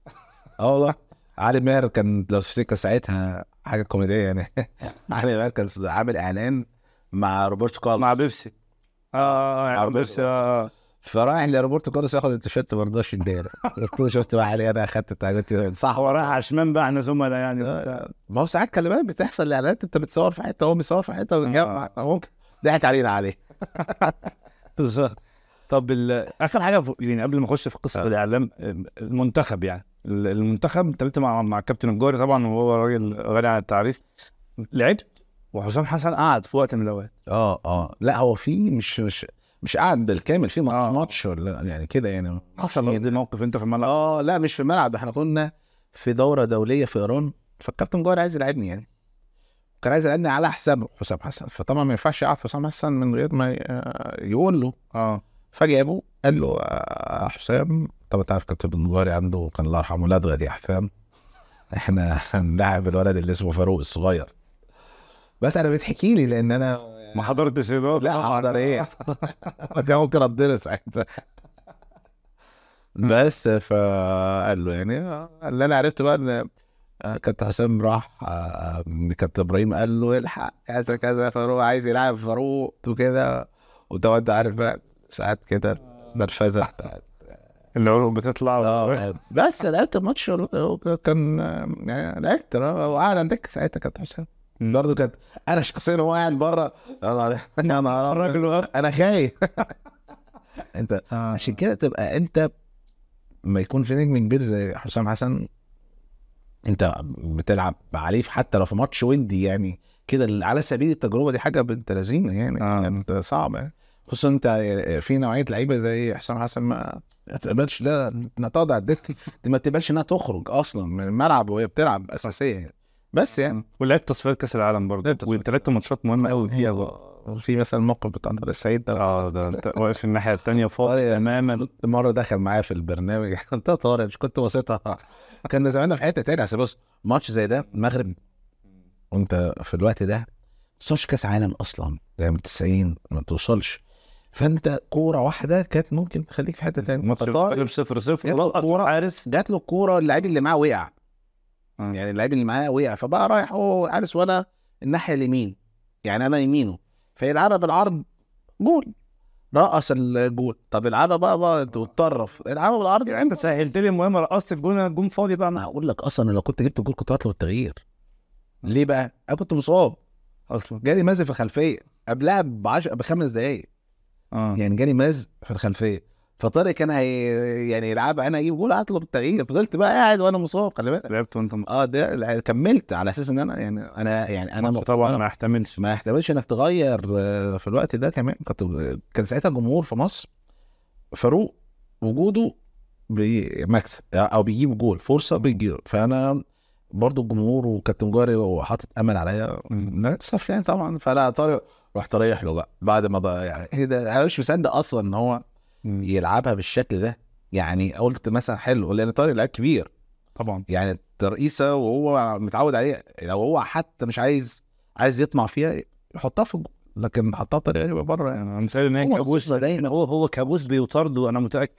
B: اه والله علي ماهر كان لو تفتكر ساعتها حاجه كوميديه يعني علي ماهر كان عامل اعلان مع روبرتو كارلوس
A: مع بيبسي اه اه
B: مع
A: آه، مع بيبسي
B: بيبسي.
A: اه آه.
B: فرايح لروبرتو كارلوس ياخد التيشيرت ما رضاش يديله قلت له شفت بقى علي انا اخدت بتاع جوتي صح
A: هو رايح على الشمال بقى احنا زملاء يعني وبتاع.
B: ما هو ساعات خلي بالك بتحصل اعلانات انت بتصور في حته هو بيصور في حته ويجمع ممكن ضحك علينا عليه
A: بالظبط طب ال- اخر حاجه ف- يعني قبل ما اخش في قصه
B: آه.
A: الاعلام آه، المنتخب يعني ال- المنتخب اتكلمت مع مع الكابتن الجاري طبعا وهو راجل غني عن التعريف لعبت وحسام حسن قعد في وقت من الاوقات
B: اه اه لا هو في مش مش مش قاعد بالكامل في
A: آه.
B: ماتش ماتش ولا يعني كده يعني
A: حصل إيه؟ دي موقف انت في الملعب
B: اه لا مش في الملعب احنا كنا في دوره دوليه في ايران فالكابتن جوهر عايز يلعبني يعني كان عايز يلعبني على حساب حسام حسن فطبعا ما ينفعش يقعد حسام حسن من غير ما ي- آه، يقول له
A: اه
B: فجابه قال له آه، حسام طب انت عارف كابتن بنجاري عنده كان الله يرحمه لدغد يا حسام احنا هنلاعب الولد اللي اسمه فاروق الصغير بس انا بتحكي لي لان انا
A: آه. ما حضرتش الوقت.
B: لا حاضر ايه انا كان ممكن اتضرب ساعتها بس فقال له يعني آه، اللي انا عرفته بقى ان آه، كابتن حسام راح آه، آه، كابتن ابراهيم قال له الحق كذا كذا فاروق عايز يلعب فاروق وكده وطبعا انت عارف بقى ساعات كده نرفزه بتاعت
A: العروق بتطلع
B: اه بس لعبت الماتش وال- كان يعني لعبت وقعد على الدكه ساعتها كابتن حسام برضه كانت انا شخصيا هو قاعد بره انا انا الراجل انا خايف انت
A: آه.
B: عشان كده تبقى انت ما يكون في نجم كبير زي حسام حسن انت بتلعب عليه في- حتى لو في ماتش ودي يعني كده على سبيل التجربه دي حاجه بنت لذينه يعني
A: آه.
B: انت صعبه يعني خصوصا انت في نوعيه لعيبه زي حسام حسن ما ما تقبلش لا انها تقعد على الدكه دي ما تقبلش انها تخرج اصلا من الملعب وهي بتلعب اساسيه يعني بس يعني
A: ولعبت تصفيات كاس العالم برضه
B: لعبت تصفيات. آه،
A: وثلاث ماتشات مهمه قوي فيها بقى
B: في مثلا موقف بتاع طارق السعيد ده
A: اه ده انت واقف في الناحيه الثانيه فاضي
B: طارق-
A: تماما
B: مره دخل معايا في البرنامج انت طارق مش كنت وسطها كان زماننا في حته تاني اصل بص ماتش زي ده المغرب وانت في الوقت ده توصلش كاس عالم اصلا ده من 90 ما توصلش فانت كوره واحده كانت ممكن تخليك في حته تاني
A: ماتش
B: فطارق
A: المغرب 0
B: جات
A: 0
B: له الكورة-
A: عارس
B: جات له الكوره اللاعب اللي معاه وقع
A: آه.
B: يعني اللاعب اللي معاه وقع فبقى رايح هو والحارس وانا الناحيه اليمين يعني انا يمينه فيلعبها بالعرض جول رقص الجول طب العبها بقى بقى واتطرف العبها بالعرض
A: يعني انت سهلت لي المهمه رقصت الجون الجون فاضي بقى
B: انا
A: معاه
B: هقول لك اصلا لو كنت جبت الجول كنت هطلب التغيير ليه بقى؟ انا كنت مصاب
A: اصلا
B: جالي مز في الخلفيه قبلها ب 10 بخمس دقائق
A: اه
B: يعني جالي مز في الخلفيه فطارق كان هي يعني يلعبها انا اجيب جول هطلب التغيير فضلت بقى قاعد وانا مصاب خلي بالك
A: لعبت وانت م-
B: اه ده لا، كملت على اساس ان انا يعني انا يعني انا
A: ماتش طبعا
B: أنا
A: ما احتملش
B: ما يحتملش انك تغير آه، في الوقت ده كمان كنت كان ساعتها الجمهور في مصر فاروق وجوده بمكسب او بيجيب جول فرصه بيجيب فانا برضو الجمهور وكابتن جاري وحاطط امل عليا
A: مم.
B: للاسف يعني طبعا فلا طارق رحت رايح له بقى بعد ما ضيع يعني ايه ده انا مش مصدق اصلا ان هو يلعبها بالشكل ده يعني قلت مثلا حلو لان طارق لعيب كبير
A: طبعا
B: يعني ترقيصه وهو متعود عليها لو هو حتى مش عايز عايز يطمع فيها يحطها في الجول لكن حطها بطريقه يبقى بره يعني
A: انا مثال ان هي
B: هو
A: كابوس
B: خصنا دايما.
A: يعني هو هو كابوس بيطارده انا متاكد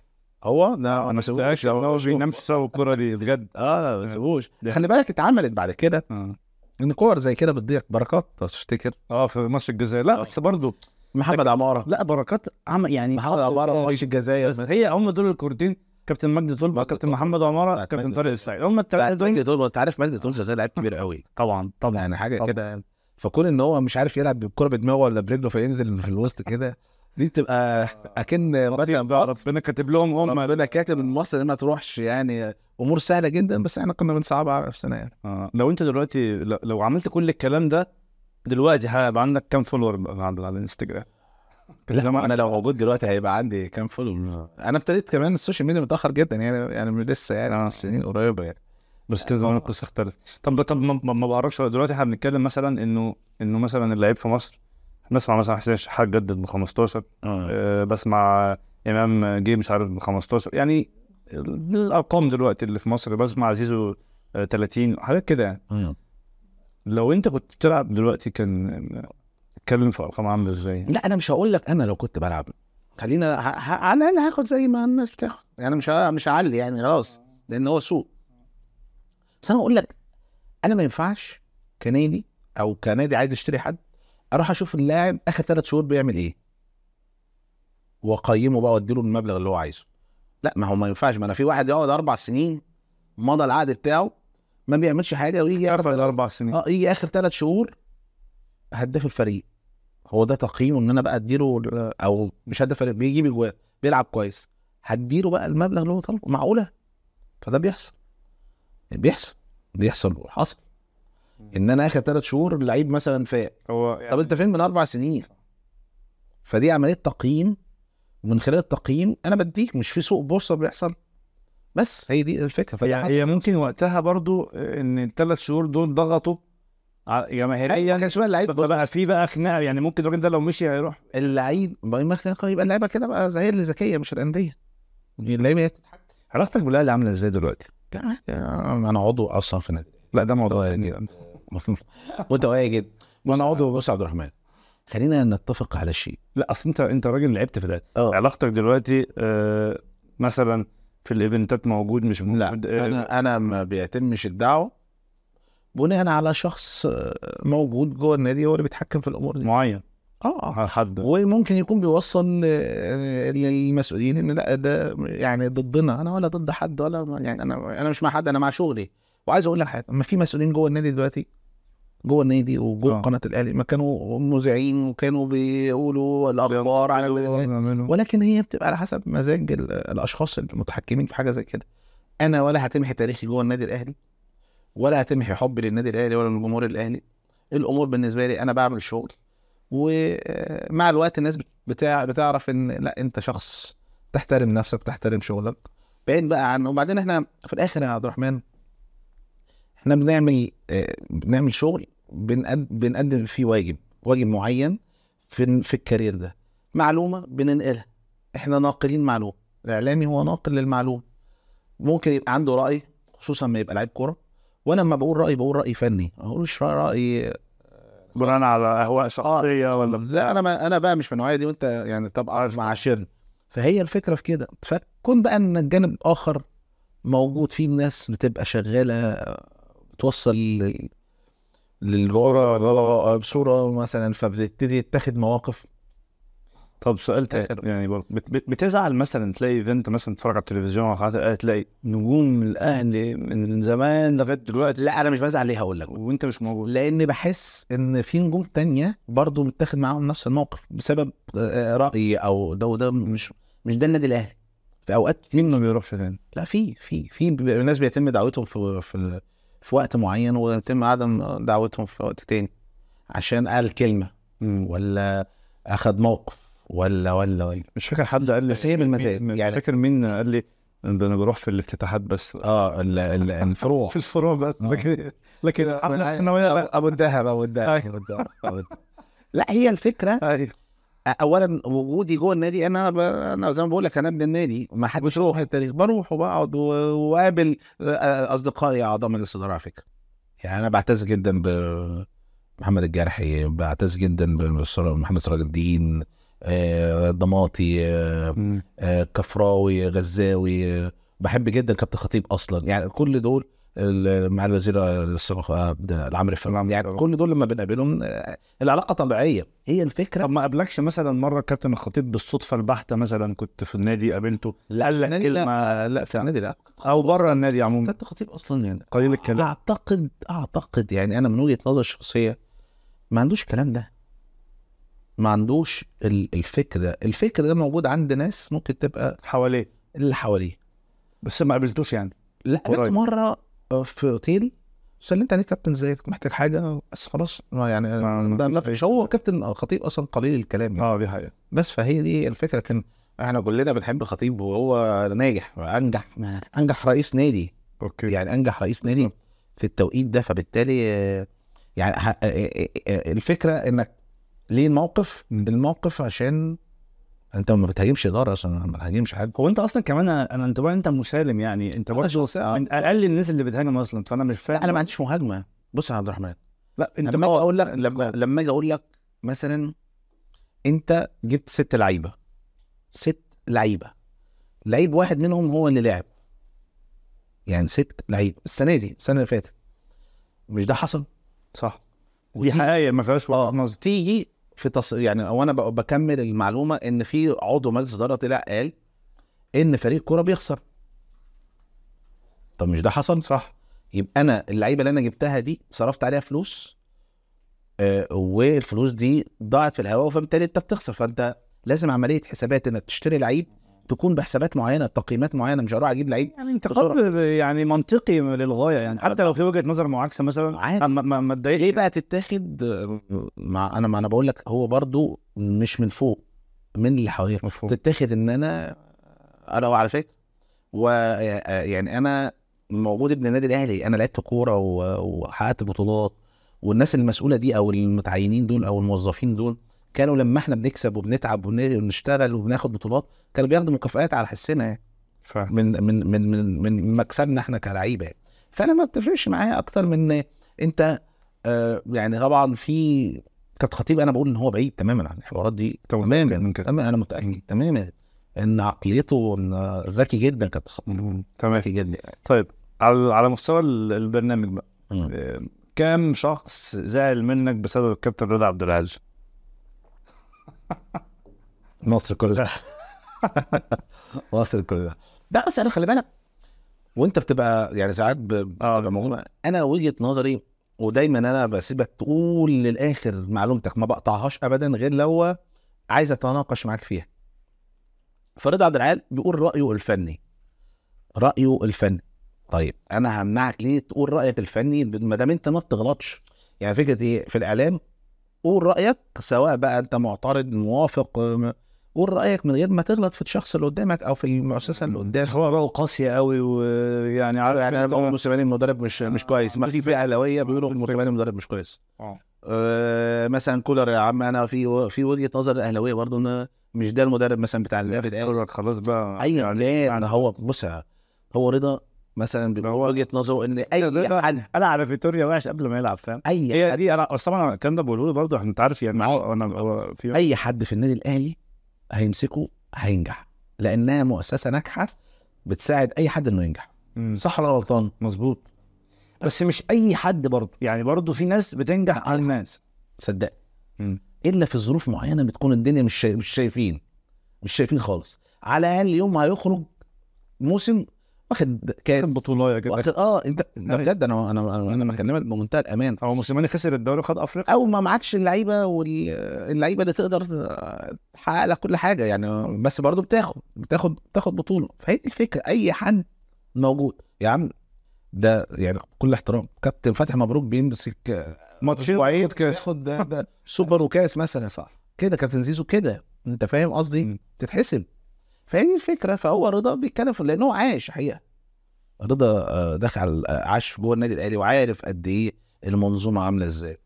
B: هو لا
A: انا
B: ما سويتش
A: متاكد ان هو بينام سوا الكوره دي بجد
B: اه لا ما سووش
A: ده.
B: خلي بالك اتعملت بعد كده
A: آه.
B: ان كور زي كده بتضيع بركات لو تفتكر
A: اه في ماتش الجزائر لا بس برضه
B: محمد عماره
A: لا بركات عمل يعني
B: محمد عماره ماتش الجزائر
A: بس هي هم دول الكورتين كابتن مجدي طلبه
B: مجدي
A: كابتن
B: طلبة.
A: محمد عماره
B: بعد
A: كابتن
B: مجدي
A: طارق السعيد هم الثلاثه
B: بعد
A: دول
B: مجدي طلبه انت عارف مجدي طلبه زي لعيب كبير قوي
A: طبعا طبعا
B: يعني حاجه
A: طبعا.
B: كده فكون ان هو مش عارف يلعب بالكره بدماغه ولا برجله فينزل في الوسط كده دي بتبقى اكن مثلا
A: آه. بقى
B: مصر-
A: ربنا كاتب لهم هم
B: ربنا كاتب ان مصر ما تروحش يعني امور سهله جدا بس احنا كنا بنصعبها على نفسنا يعني
A: آه. لو انت دلوقتي لو- لو عملت كل الكلام ده دلوقتي هيبقى عندك كام فولور بقى على على الانستجرام
B: لا
A: زمان-
B: انا لو موجود دلوقتي هيبقى عندي كام فولو انا ابتديت كمان السوشيال ميديا متاخر جدا يعني يعني من لسه يعني
A: آه.
B: من سنين قريبه يعني
A: بس كان زمان القصه اختلفت طب طب ما- ما ما بعرفش ولا دلوقتي احنا بنتكلم مثلا انه انه مثلا اللعيب في مصر بسمع مثلا حسين الشحات جدد ب 15 آه، بسمع امام جه مش عارف ب 15 يعني الارقام دلوقتي اللي في مصر بسمع زيزو آه، 30 حاجات كده يعني
B: مم.
A: لو انت كنت بتلعب دلوقتي كان اتكلم في ارقام عامله ازاي
B: لا انا مش هقول لك انا لو كنت بلعب خلينا ه... ه... على الاقل هاخد زي ما الناس بتاخد يعني مش ه... مش هعلي يعني خلاص لان هو سوق بس انا اقول لك انا ما ينفعش كنادي او كنادي عايز اشتري حد اروح اشوف اللاعب اخر ثلاث شهور بيعمل ايه واقيمه بقى واديله المبلغ اللي هو عايزه لا ما هو ما ينفعش ما انا في واحد يقعد اربع سنين مضى العقد بتاعه ما بيعملش حاجه ويجي
A: اربع الاربع سنين
B: اه يجي اخر ثلاث شهور هداف الفريق هو ده تقييمه ان انا بقى اديله او مش هداف الفريق بيجيب اجوان بيلعب كويس هديله بقى المبلغ اللي هو طالبه معقوله فده بيحصل بيحصل بيحصل وحصل ان انا اخر ثلاث شهور اللعيب مثلا فاق
A: هو
B: طب
A: يعني
B: انت فين من اربع سنين فدي عمليه تقييم ومن خلال التقييم انا بديك مش في سوق بورصه بيحصل بس هي دي الفكره فده
A: يعني
B: حصل.
A: هي ممكن وقتها برضو ان الثلاث شهور دول ضغطوا ع-
B: أيوة، ما
A: جماهيريا
B: كانش بقى اللعيب
A: فبقى في بقى خناقه يعني ممكن الراجل ده لو مشي هيروح
B: اللعيب ما ما كان- يبقى اللعيبه كده بقى زي اللي ذكيه مش الانديه اللعيبه هي تتحكم
A: علاقتك بالاهلي عامله ازاي دلوقتي؟
B: لا، عادي، انا يعني عضو اصلا في نادي
A: لا ده موضوع
B: طيب،
A: تاني.
B: جدا. متواجد وانا عضو بص يا عبد الرحمن خلينا نتفق على شيء
A: لا اصل انت انت راجل لعبت في الاهلي
B: اه.
A: علاقتك دلوقتي آه مثلا في الايفنتات موجود مش
B: لا
A: موجود آه،
B: انا انا ما بيتمش الدعوه بناء على شخص آه، موجود جوه النادي هو اللي بيتحكم في الامور دي
A: معين
B: اه
A: ح- حد
B: وممكن يكون بيوصل آه، للمسؤولين ان لا ده يعني ضدنا انا ولا ضد حد ولا يعني انا انا مش مع حد انا مع شغلي وعايز اقول لك حاجه ما في مسؤولين جوه النادي دلوقتي جوه النادي وجوه
A: آه.
B: قناه الاهلي ما كانوا مذيعين وكانوا بيقولوا الاخبار على
A: بيعملوا.
B: ولكن هي بتبقى على حسب مزاج ال- الاشخاص المتحكمين في حاجه زي كده انا ولا هتمحي تاريخي جوه النادي الاهلي ولا هتمحي حبي للنادي الاهلي ولا للجمهور الاهلي الامور بالنسبه لي انا بعمل شغل ومع الوقت الناس بت- بتاع بتعرف ان لا انت شخص تحترم نفسك تحترم شغلك بعيد بقى عنه وبعدين احنا في الاخر يا عبد الرحمن احنا بنعمل آه، بنعمل شغل بنقد- بنقدم فيه واجب واجب معين في في الكارير ده معلومه بننقلها احنا ناقلين معلومه الاعلامي هو ناقل للمعلومه ممكن يبقى عنده راي خصوصا لما يبقى لعيب كوره وانا لما بقول راي بقول راي فني ما بقولش راي
A: بناء على اهواء شخصيه ولا
B: لا انا ما انا بقى مش من النوعيه دي وانت يعني طبعا مع شر فهي الفكره في كده فكون بقى ان الجانب الاخر موجود فيه ناس بتبقى شغاله بتوصل لل- للجوره بصوره مثلا فبتبتدي تتاخد مواقف
A: طب سؤال تاني
B: آخر.
A: يعني برضه بت بت بتزعل مثلا تلاقي ايفنت مثلا تتفرج على التلفزيون على قناه الاهلي تلاقي نجوم الاهلي من زمان لغايه دلوقتي
B: لا انا مش بزعل ليه هقول لك
A: وانت مش موجود
B: لان بحس ان في نجوم تانية برضو متاخد معاهم نفس الموقف بسبب آه، راي او ده وده مش مش ده النادي الاهلي في اوقات كتير
A: مين ما بيروحش تاني
B: لا في في في ب- ناس بيتم دعوتهم في في في وقت معين ويتم عدم دعوتهم في وقت تاني عشان قال كلمه ولا اخذ موقف ولا ولا ولا
A: مش فاكر حد قال لي
B: بس هي بالمزاج،
A: مين- مش
B: يعني-
A: فاكر مين قال لي ده انا بروح في الافتتاحات بس
B: اه ال- ال- الفروع
A: في الفروع بس
B: آه.
A: لكن لكن
B: كده
A: الحفله
B: من-
A: الثانويه لا
B: ابو الذهب ابو الذهب
A: أيوة.
B: أبو الذهب، أبو الذهب. لا هي الفكره
A: ايوه
B: اولا وجودي جوه النادي انا ب... انا زي ما بقول لك انا ابن النادي ما حدش يروح التاريخ بروح وبقعد و- واقابل آه، اصدقائي اعضاء مجلس الاداره على فكره يعني انا بعتز جدا بمحمد الجرحي بعتز جدا بالصرا- محمد سراج الدين آه، الضماطي آه، آه، كفراوي غزاوي آه، بحب جدا كابتن خطيب اصلا يعني كل دول ال- مع الوزير السابق آه، العمري فرج
A: العمري
B: يعني
A: فرج.
B: كل دول لما بنقابلهم آه، العلاقه طبيعيه هي الفكره
A: طب ما قابلكش مثلا مره كابتن الخطيب بالصدفه البحته مثلا كنت في النادي قابلته
B: لا
A: قال
B: في
A: لك
B: النادي
A: كلمه
B: لا, لا في النادي لا
A: او بره النادي عموما
B: كابتن خطيب اصلا يعني
A: قليل الكلام
B: اعتقد اعتقد يعني انا من وجهه نظري الشخصيه ما عندوش الكلام ده ما عندوش ال- الفكر ده الفكر ده موجود عند ناس ممكن تبقى
A: حواليه
B: اللي حواليه
A: بس ما قابلتوش يعني
B: لا قابلت
A: قريب.
B: مره آه، في اوتيل سلمت عليه كابتن زيك محتاج حاجه بس خلاص ما يعني
A: ما- ما
B: ده
A: فيش
B: ما فيش
A: أي-
B: هو كابتن آه، خطيب اصلا قليل الكلام يعني.
A: اه دي حقيقه
B: بس فهي دي الفكره لكن احنا كلنا بنحب الخطيب وهو ناجح انجح انجح رئيس نادي
A: اوكي
B: يعني انجح رئيس نادي
A: بالظبط.
B: في التوقيت ده فبالتالي آه، يعني ه- آه، آه، آه، الفكره انك ليه الموقف
A: مم.
B: الموقف عشان انت ما بتهاجمش اداره اصلا ما بتهاجمش حد
A: هو انت اصلا كمان انا انطباعي انت مسالم يعني انت برضه من اقل الناس اللي بتهاجم اصلا فانا مش فاهم
B: لا انا ما عنديش مهاجمه بص يا عبد الرحمن
A: لا انت
B: لما اجي اقول لك
A: انت
B: لما لما اجي اقول لك مثلا انت جبت ست لعيبه ست لعيبه لعيب واحد منهم هو اللي لعب يعني ست لعيبه السنه دي السنه اللي فاتت مش ده حصل
A: صح دي حقيقه ما فيهاش وجهه نظر
B: تيجي في تص... يعني وانا ب... بكمل المعلومه ان في عضو مجلس اداره طلع قال ان فريق كوره بيخسر طب مش ده حصل
A: صح
B: يبقى انا اللعيبه اللي انا جبتها دي صرفت عليها فلوس آه والفلوس دي ضاعت في الهواء فبالتالي انت بتخسر فانت لازم عمليه حسابات انك تشتري لعيب تكون بحسابات معينه بتقييمات معينه مش هروح اجيب لعيب
A: يعني انتقاد يعني منطقي للغايه يعني حتى لو في وجهه نظر معاكسه مثلا
B: عادي
A: ما- ما ما
B: ليه
A: اتضايقش
B: إيه بقى تتاخد آه، مع انا ما انا بقول لك هو برضو مش من فوق من اللي حواليك
A: يعني. مفهوم
B: تتاخد ان انا انا على فكره و يعني انا موجود ابن النادي الاهلي انا لعبت كوره و- وحققت بطولات والناس المسؤوله دي او المتعينين دول او الموظفين دول كانوا لما احنا بنكسب وبنتعب ون- ونشتغل وبناخد بطولات كانوا بياخدوا مكافآت على حسنا يعني
A: فاهم
B: من من من من, من مكسبنا احنا كلعيبه يعني. فانا ما بتفرقش معايا اكتر من انت آه يعني طبعا في كابتن خطيب انا بقول ان هو بعيد تماما عن الحوارات دي
A: طب متأكد
B: تماما
A: من كده؟
B: تماما انا متاكد تماما ان عقليته إن ذكي جدا كابتن خطيب
A: تمام
B: ذكي جدا
A: طيب على على مستوى ال- البرنامج بقى
B: مم.
A: آه، كام شخص زعل منك بسبب الكابتن رضا عبد العزيز؟
B: مصر كلها مصر كلها ده بس انا خلي بالك وانت بتبقى يعني ساعات ب-
A: آه.
B: بتبقى موجود انا وجهه نظري ودايما انا بسيبك تقول للاخر معلومتك ما بقطعهاش ابدا غير لو عايز اتناقش معاك فيها فرضا عبد العال بيقول رايه الفني رايه الفني طيب انا همنعك ليه تقول رايك الفني ما دام انت ما بتغلطش يعني فكره ايه في الاعلام قول رايك سواء بقى انت معترض موافق م- قول رايك من غير ما تغلط في الشخص اللي قدامك او في المؤسسه اللي قدامك
A: هو رأيه قاسية قوي ويعني عارف
B: يعني انا
A: أنت-
B: بقول موسيماني المدرب مش
A: آه،
B: مش كويس ما في فئه اهلاويه بيقولوا
A: بالفعل.
B: موسيماني المدرب مش كويس
A: آه.
B: آه مثلا كولر يا عم انا في في وجهه نظر اهلاويه برضه ان مش ده المدرب مثلا بتاع النادي الاهلي
A: قرر خلاص بقى
B: ايا كان
A: يعني-
B: هو بص يا- هو رضا مثلا بيقول
A: هو-
B: وجهه نظره ان اي
A: رضا-
B: حد
A: انا على فيتوريا وحش قبل ما يلعب فاهم
B: اي
A: هي
B: حد
A: دي انا اصل طبعا الكلام ده بقوله له برضه انت عارف يعني
B: معاه.
A: انا هو في
B: اي حد في النادي الاهلي هيمسكه هينجح لانها مؤسسه ناجحه بتساعد اي حد انه ينجح
A: مم، صح
B: صح ولا غلطان؟
A: مظبوط بس مش اي حد برضه يعني برضه في ناس بتنجح على الناس
B: صدق
A: مم.
B: الا في ظروف معينه بتكون الدنيا مش شايف- مش شايفين مش شايفين خالص على الاقل يوم هيخرج موسم واخد كاس
A: كان بطولايه كده أيوه.
B: واخد اه انت ده بجد انا انا انا انا بكلمك بمنتهى الامان
A: هو موسيماني خسر الدوري وخد افريقيا
B: او ما معكش اللعيبه واللعيبه اللي تقدر تحقق لك كل حاجه يعني بس برضه بتاخد بتاخد بتاخد بطوله فهي دي الفكره اي حد موجود يا عم ده يعني كل احترام كابتن فتحي مبروك بيمسك
A: ماتشين
B: اسبوعين
A: كاس
B: ياخد ده ده سوبر وكاس مثلا
A: صح
B: كده كابتن زيزو كده انت فاهم قصدي
A: مم.
B: تتحسب فهي دي الفكره فهو رضا بيتكلم في لان هو عايش حقيقه إيه رضا آه، دخل آه، عاش جوه النادي الاهلي وعارف قد ايه المنظومه عامله ازاي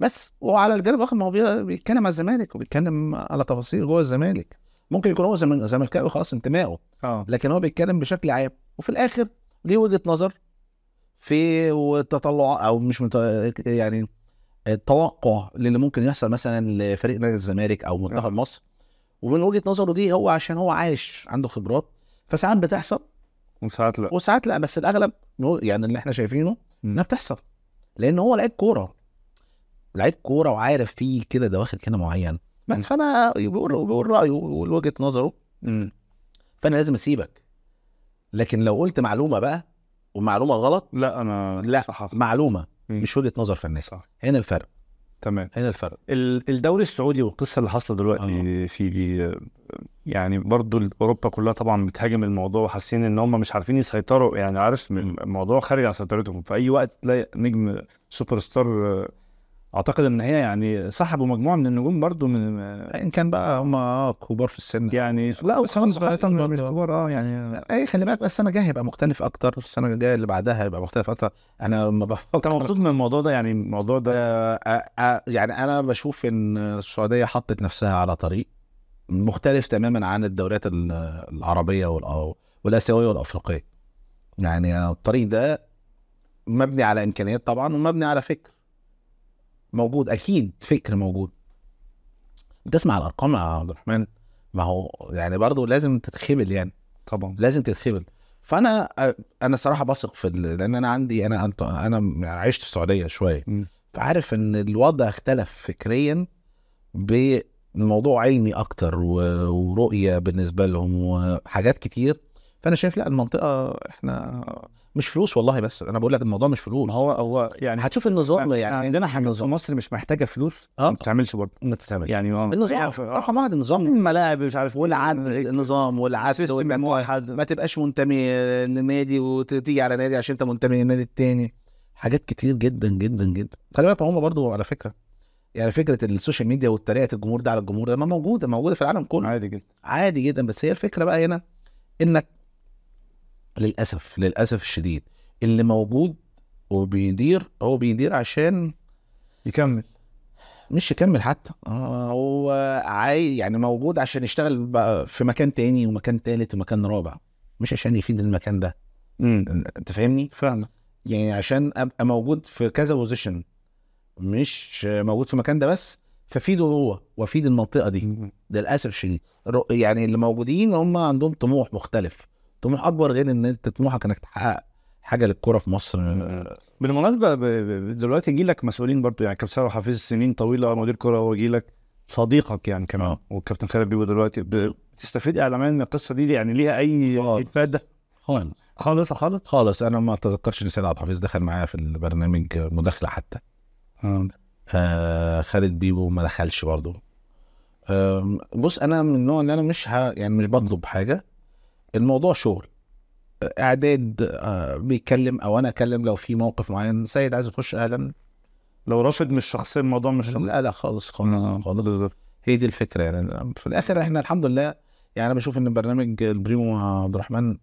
B: بس وعلى الجانب الاخر ما هو بي- بيتكلم على الزمالك وبيتكلم على تفاصيل جوه الزمالك ممكن يكون هو زم- زملكاوي خلاص انتمائه
A: اه
B: لكن هو بيتكلم بشكل عام وفي الاخر ليه وجهه نظر في وتطلع او مش مت... يعني التوقع للي ممكن يحصل مثلا لفريق نادي الزمالك او منتخب مصر ومن وجهه نظره دي هو عشان هو عايش عنده خبرات فساعات بتحصل
A: وساعات لا
B: وساعات لا بس الاغلب نو- يعني اللي احنا شايفينه
A: مم.
B: انها بتحصل لان هو لعيب كوره لعيب كوره وعارف فيه كده دواخل كده معين بس
A: مم.
B: فانا بيقول بيقول رايه ويقول وجهه نظره
A: مم.
B: فانا لازم اسيبك لكن لو قلت معلومه بقى ومعلومه غلط
A: لا انا
B: لا
A: صح
B: معلومه
A: مم.
B: مش وجهه نظر فنيه
A: صح
B: هنا الفرق
A: تمام
B: هنا الفرق
A: ال- الدوري السعودي والقصه اللي حاصله
B: آه.
A: دلوقتي في دي يعني برضو اوروبا كلها طبعا بتهاجم الموضوع وحاسين ان هم مش عارفين يسيطروا يعني عارف م-
B: مم.
A: الموضوع خارج عن سيطرتهم في اي وقت تلاقي نجم سوبر ستار آه، اعتقد ان هي يعني سحبوا مجموعه من النجوم برضو من آه،
B: ان كان بقى هم آه كبار في السن
A: يعني لا
B: بس هم
A: وصراحة
B: صغيرين
A: مش
B: برضو.
A: كبار اه يعني
B: اي إيه، خلي بالك بس السنه الجايه هيبقى مختلف اكتر السنه الجايه اللي بعدها هيبقى مختلف اكتر انا لما
A: انت
B: بفكر
A: مبسوط من الموضوع ده يعني الموضوع ده
B: آه، آه، آه، يعني انا بشوف ان السعوديه حطت نفسها على طريق مختلف تماما عن الدوريات ال- العربيه والأ- والاسيويه والافريقيه يعني الطريق ده مبني على امكانيات طبعا ومبني على فكر موجود اكيد فكر موجود تسمع الارقام يا عبد الرحمن ما هو يعني برضه لازم تتخبل يعني
A: طبعا
B: لازم تتخبل فانا انا صراحه بثق في ال- لان انا عندي انا أنت- انا عشت في السعوديه شويه
A: مم.
B: فعارف ان الوضع اختلف فكريا بموضوع علمي اكتر و- ورؤيه بالنسبه لهم وحاجات كتير فانا شايف لا المنطقه احنا مش فلوس والله بس انا بقول لك الموضوع مش فلوس
A: ما هو هو يعني
B: هتشوف النظام يعني
A: عندنا حاجات في مصر مش محتاجه فلوس
B: اه.
A: ما بتتعملش برضه
B: ما تتعمل
A: يعني اه
B: النظام
A: اعرف-
B: رقم واحد النظام
A: الملاعب مش عارف
B: والعدل النظام والعدل
A: سيستم
B: والمنطقة
A: موحد
B: ما تبقاش منتمي لنادي وتيجي على نادي عشان انت منتمي للنادي التاني حاجات كتير جدا جدا جدا خلي بالك هم برضو على فكره يعني فكره السوشيال ميديا وطريقه الجمهور ده على الجمهور ده ما موجوده موجوده في العالم كله
A: عادي جدا
B: عادي جدا بس هي الفكره بقى هنا انك للاسف للاسف الشديد اللي موجود وبيدير هو بيدير عشان
A: يكمل
B: مش يكمل حتى آه، هو عاي يعني موجود عشان يشتغل بقى في مكان تاني ومكان تالت ومكان رابع مش عشان يفيد المكان ده
A: امم
B: انت فاهمني
A: فاهمك
B: يعني عشان ابقى موجود في كذا بوزيشن مش موجود في المكان ده بس فافيده هو وافيد المنطقه دي ده للاسف الشديد الر- يعني اللي موجودين هم عندهم طموح مختلف طموح اكبر غير ان انت طموحك انك تحقق حاجه للكره في مصر
A: بالمناسبه آه، ب- ب- دلوقتي جه لك مسؤولين برضو يعني كابتن سامح حفيظ سنين طويله مدير كره هو جه لك صديقك يعني كمان
B: آه.
A: والكابتن خالد بيبو دلوقتي ب- بتستفيد اعلاميا من القصه دي يعني ليها اي
B: آه.
A: افاده
B: خالص
A: خالص خالص
B: خالص انا ما اتذكرش ان سيد عبد الحفيظ دخل معايا في البرنامج مداخله حتى آه خالد بيبو ما دخلش برضه آم، بص انا من النوع اللي انا مش ه... يعني مش بطلب حاجه الموضوع شغل آه، اعداد آه بيتكلم او انا اكلم لو في موقف معين سيد عايز يخش اهلا
A: لو رافض مش شخصي الموضوع مش شخصي.
B: لا لا خالص
A: آه.
B: خالص خالص هي دي الفكره يعني في الاخر احنا الحمد لله يعني انا بشوف ان برنامج البريمو مع عبد الرحمن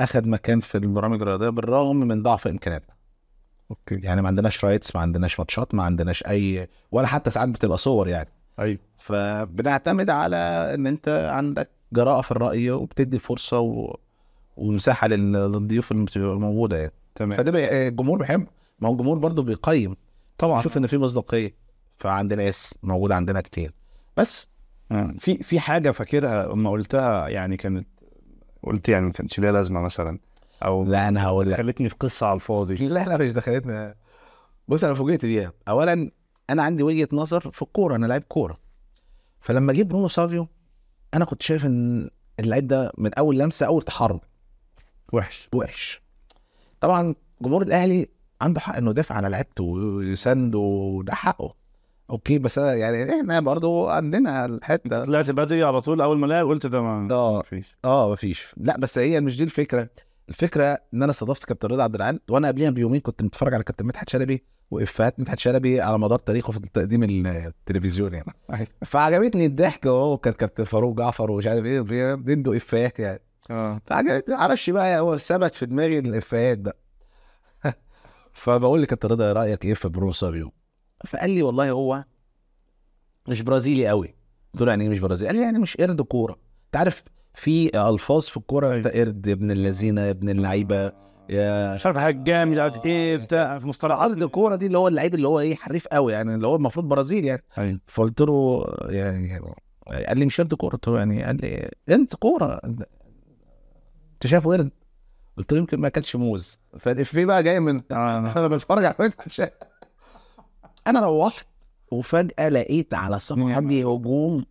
B: اخذ مكان في البرامج الرياضيه بالرغم من ضعف امكانياتنا
A: اوكي
B: يعني ما عندناش رايتس ما عندناش ماتشات ما عندناش اي ولا حتى ساعات بتبقى صور يعني
A: ايوه
B: فبنعتمد على ان انت عندك جراءه في الراي وبتدي فرصه و... ومساحه لل- للضيوف اللي بتبقى موجوده يعني
A: تمام
B: فده بي... الجمهور بيحب ما هو الجمهور برضه بيقيم
A: طبعا
B: يشوف ان في مصداقيه فعندنا اس موجوده عندنا كتير بس
A: آه. في في حاجه فاكرها لما قلتها يعني كانت قلت يعني ما كانش ليها لازمه مثلا او
B: لا انا هقول لك
A: خلتني في قصه على الفاضي
B: لا لا مش دخلتنا بص انا فوجئت بيها اولا انا عندي وجهه نظر في الكوره انا لعيب كوره فلما جه برونو سافيو انا كنت شايف ان اللعيب ده من اول لمسه اول تحرك
A: وحش
B: وحش طبعا جمهور الاهلي عنده حق انه يدافع على لعيبته ويسنده وده حقه اوكي بس أنا يعني احنا برضو عندنا الحته
A: طلعت بدري على طول اول ما لعب قلت ده ما
B: اه
A: فيش
B: اه مفيش لا بس هي مش دي الفكره الفكره ان انا استضفت كابتن رضا عبد العال وانا قبلها بيومين كنت متفرج على كابتن مدحت شلبي وافيهات مدحت شلبي على مدار تاريخه في التقديم التلفزيوني يعني
A: أيوة.
B: فعجبتني الضحك وهو كان كابتن فاروق جعفر ومش عارف ايه بيندوا افيهات يعني
A: اه
B: فعجبتني معرفش بقى هو ثبت في دماغي الافيهات ده فبقول لك انت رضا رايك ايه في إيه برونو سابيو فقال لي والله هو مش برازيلي قوي قلت له يعني إيه مش برازيلي قال لي يعني مش قرد كوره انت عارف في الفاظ في الكوره انت قرد يا ابن اللذينه يا ابن اللعيبه يا
A: مش عارف حجام مش عارف ايه بتاع في مصطلحات
B: عرض الكوره دي اللي هو اللعيب اللي هو ايه حريف قوي يعني اللي هو المفروض برازيل يعني
A: أيوة.
B: فقلت له يعني يعني- قال لي مش قرد كوره قلت له يعني قال لي انت كوره انت شايفه قرد قلت له يمكن ما اكلش موز فالإفيه بقى جاي من
A: آه.
B: انا بتفرج على فتحي هشام انا روحت وفجاه لقيت على صفحتي هجوم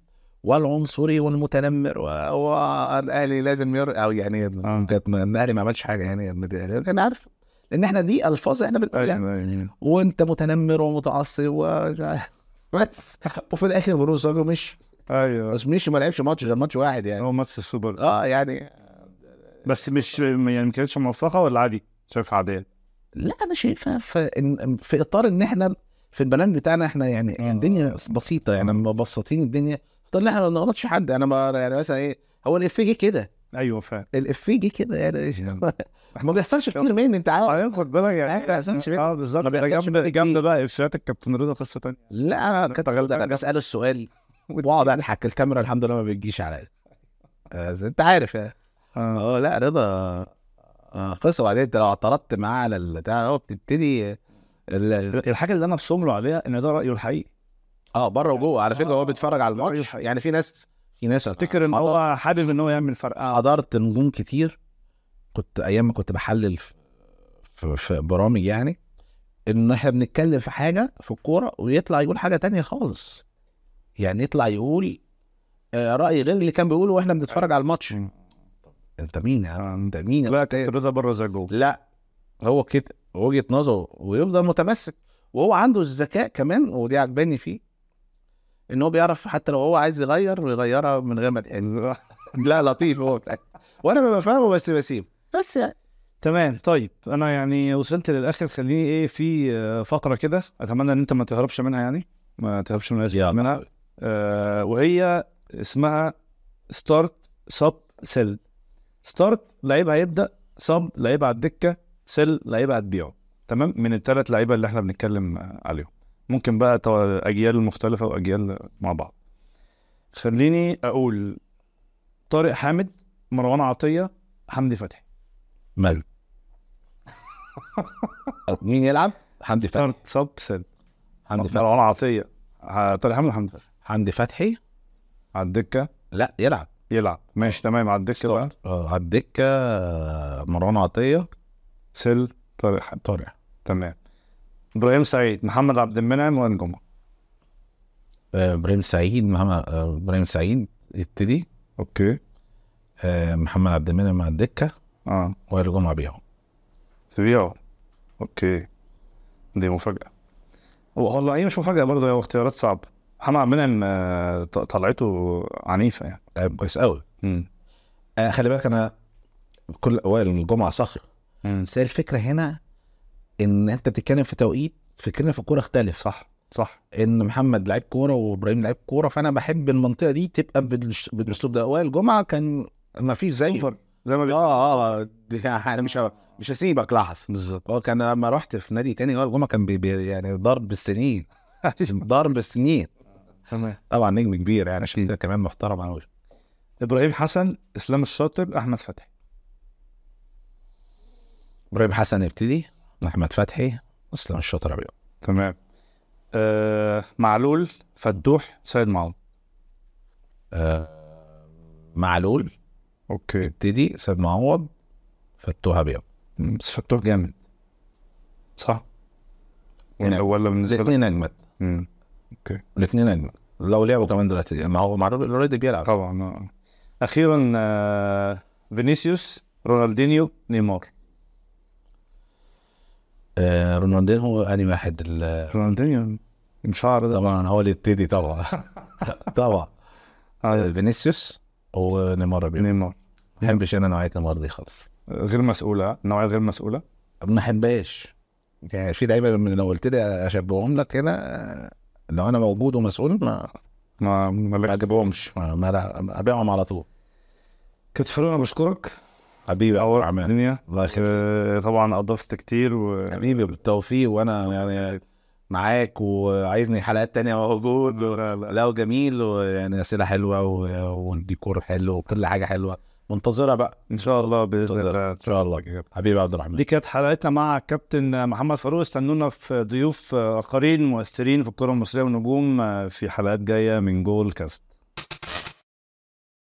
B: والعنصري والمتنمر و- والاهلي لازم ير... او يعني كانت الاهلي ما عملش حاجه يعني انا عارف لان احنا دي الفاظ احنا بنقولها
A: أيوة.
B: وانت متنمر ومتعصب و بس وفي الاخر برونو ساجو مش
A: ايوه
B: بس مش ما لعبش ماتش غير ماتش واحد يعني
A: هو ماتش السوبر
B: اه يعني
A: بس مش يعني ما كانتش موفقه ولا عادي شايفها عاديه
B: لا انا شايفها في إن- في اطار ان احنا في البلان بتاعنا احنا يعني
A: آه.
B: الدنيا بسيطه يعني مبسطين الدنيا طب احنا ما بنغلطش حد انا ما يعني مثلا ايه هو الافيه جه كده
A: ايوه فعلا
B: الافيه جه كده يعني ما بيحصلش كتير مين انت عارف
A: بعدين خد بالك يعني
B: ما بيحصلش كتير.
A: اه بالظبط
B: ما
A: ده
B: بيحصلش
A: جامده
B: كتير.
A: جامده بقى افيهات الكابتن رضا قصه تانيه
B: لا انا كنت
A: غلبان.
B: أنا بساله السؤال واقعد اضحك الكاميرا الحمد لله ما بتجيش عليا آه، زي- انت عارف يعني
A: آه.
B: اه لا رضا آه، قصه وبعدين انت لو اعترضت معاه على البتاع هو بتبتدي ال-
A: الحاجه اللي انا بصمله عليها ان ده رايه الحقيقي
B: اه بره وجوه على فكره
A: آه.
B: هو بيتفرج على
A: رأيه
B: الماتش
A: حقيقي.
B: يعني في ناس في ناس
A: افتكر ان
B: حضرت-
A: هو حابب ان هو يعمل فرقه
B: حضرت نجوم كتير كنت ايام ما كنت بحلل في, في, في برامج يعني ان احنا بنتكلم في حاجه في الكوره ويطلع يقول حاجه تانية خالص يعني يطلع يقول آه، راي غير اللي كان بيقوله واحنا بنتفرج على الماتش
A: مم.
B: انت مين يا عم؟ انت مين يا
A: أيوة. لا
B: أستاذ؟
A: كابتن رضا بره زي جوه
B: لا هو كده وجهه نظره ويفضل متمسك وهو عنده الذكاء كمان ودي عجباني فيه ان هو بيعرف حتى لو هو عايز يغير يغيرها من غير ما تحس لا لطيف هو بتاع- وانا ببقى فاهمه بس بسيبه بس يعني
A: تمام طيب انا يعني وصلت للاخر خليني ايه في آه، فقره كده اتمنى ان انت ما تهربش منها يعني ما تهربش من
B: يلا.
A: منها آه وهي اسمها ستارت سب سيل ستارت لعيب هيبدا سب لعيب على الدكه سيل لعيب هتبيعه تمام من الثلاث لعيبه اللي احنا بنتكلم آه، عليهم ممكن بقى تو- اجيال مختلفه واجيال مع بعض خليني اقول طارق حامد مروان عطيه حمدي فتحي
B: ماله مين يلعب؟ حمدي فتحي
A: ستارت سب سيل
B: حمدي فتحي
A: مروان عطيه ه- طارق حامد وحمدي فتحي
B: حمدي فتحي
A: على الدكه
B: لا يلعب
A: يلعب ماشي تمام على الدكه بقى
B: آه، على الدكه آه، مروان عطيه
A: سيل طارق حامد
B: طارق
A: تمام ابراهيم سعيد محمد عبد المنعم وائل جمعه
B: آه، ابراهيم سعيد محمد آه، ابراهيم سعيد يبتدي
A: اوكي
B: آه، محمد عبد المنعم على الدكه
A: اه
B: وائل جمعه بيهم
A: تبيعه اوكي دي مفاجاه والله هي مش مفاجاه برضه هي اختيارات صعبه محمد عبد المنعم آه، ط- طلعته عنيفه يعني
B: لعيب آه، كويس قوي
A: امم
B: آه خلي بالك انا كل اوائل الجمعه صخر بس هي الفكره هنا ان انت بتتكلم في توقيت فكرنا في الكوره اختلف
A: صح صح
B: ان محمد لعيب كوره وابراهيم لعيب كوره فانا بحب المنطقه دي تبقى بالش- بالاسلوب ده اوائل الجمعه كان ما فيش زيه
A: سوبر زي ما بي-
B: اه اه دي- انا مش ه- مش هسيبك لحظه
A: بالظبط
B: هو كان لما رحت في نادي تاني اوائل الجمعه كان بي بي يعني ضرب بالسنين ضرب بالسنين
A: تمام
B: طبعا نجم كبير يعني عشان كمان محترم قوي
A: ابراهيم حسن اسلام الشاطر احمد فتحي
B: ابراهيم حسن يبتدي احمد فتحي اسلام الشاطر ابيض
A: تمام آه معلول فتوح سيد معوض
B: آه، معلول
A: اوكي
B: ابتدي سيد معوض فتوها بيض
A: بس فتوح جامد صح يعني ولا
B: نعم.
A: ولا بالنسبه لك
B: الاثنين اجمد
A: مم.
B: الاثنين اجمد لو لعبوا كمان دلوقتي يعني ما هو معلول اوريدي بيلعب
A: طبعا آه. اخيرا آه فينيسيوس رونالدينيو نيمار
B: آه رونالدين هو انهي واحد ال-
A: آه. رونالدينيو مشعر ده
B: طبعا هو اللي يبتدي طبعا طبعا آه،
A: آه،
B: فينيسيوس ونيمار ابيض ما
A: نيمار
B: بحبش انا نوعيه نيمار دي خالص
A: آه، غير مسؤوله نوعيه غير مسؤوله
B: ما بحبهاش يعني في لعيبه من- لو قلت لي اشبههم لك هنا آه، لو انا موجود ومسؤول ما
A: ما
B: ما
A: ما
B: اجيبهمش ما ما- لا، ابيعهم على طول
A: كتفرنا بشكرك
B: حبيبي يا
A: نور
B: عمان
A: الدنيا
B: الله يخليك
A: آه، طبعا اضفت كتير و
B: حبيبي بالتوفيق وانا يعني معاك وعايزني حلقات تانية موجود
A: لا لا
B: لا جميل ويعني اسئله حلوه و- والديكور حلو وكل حاجه حلوه منتظرها بقى
A: ان شاء الله باذن الله
B: ان شاء الله حبيبي عبد الرحمن
A: دي كانت حلقتنا مع كابتن محمد فاروق استنونا آه، في ضيوف اخرين مؤثرين في الكره المصريه ونجوم في حلقات جايه من جول كاست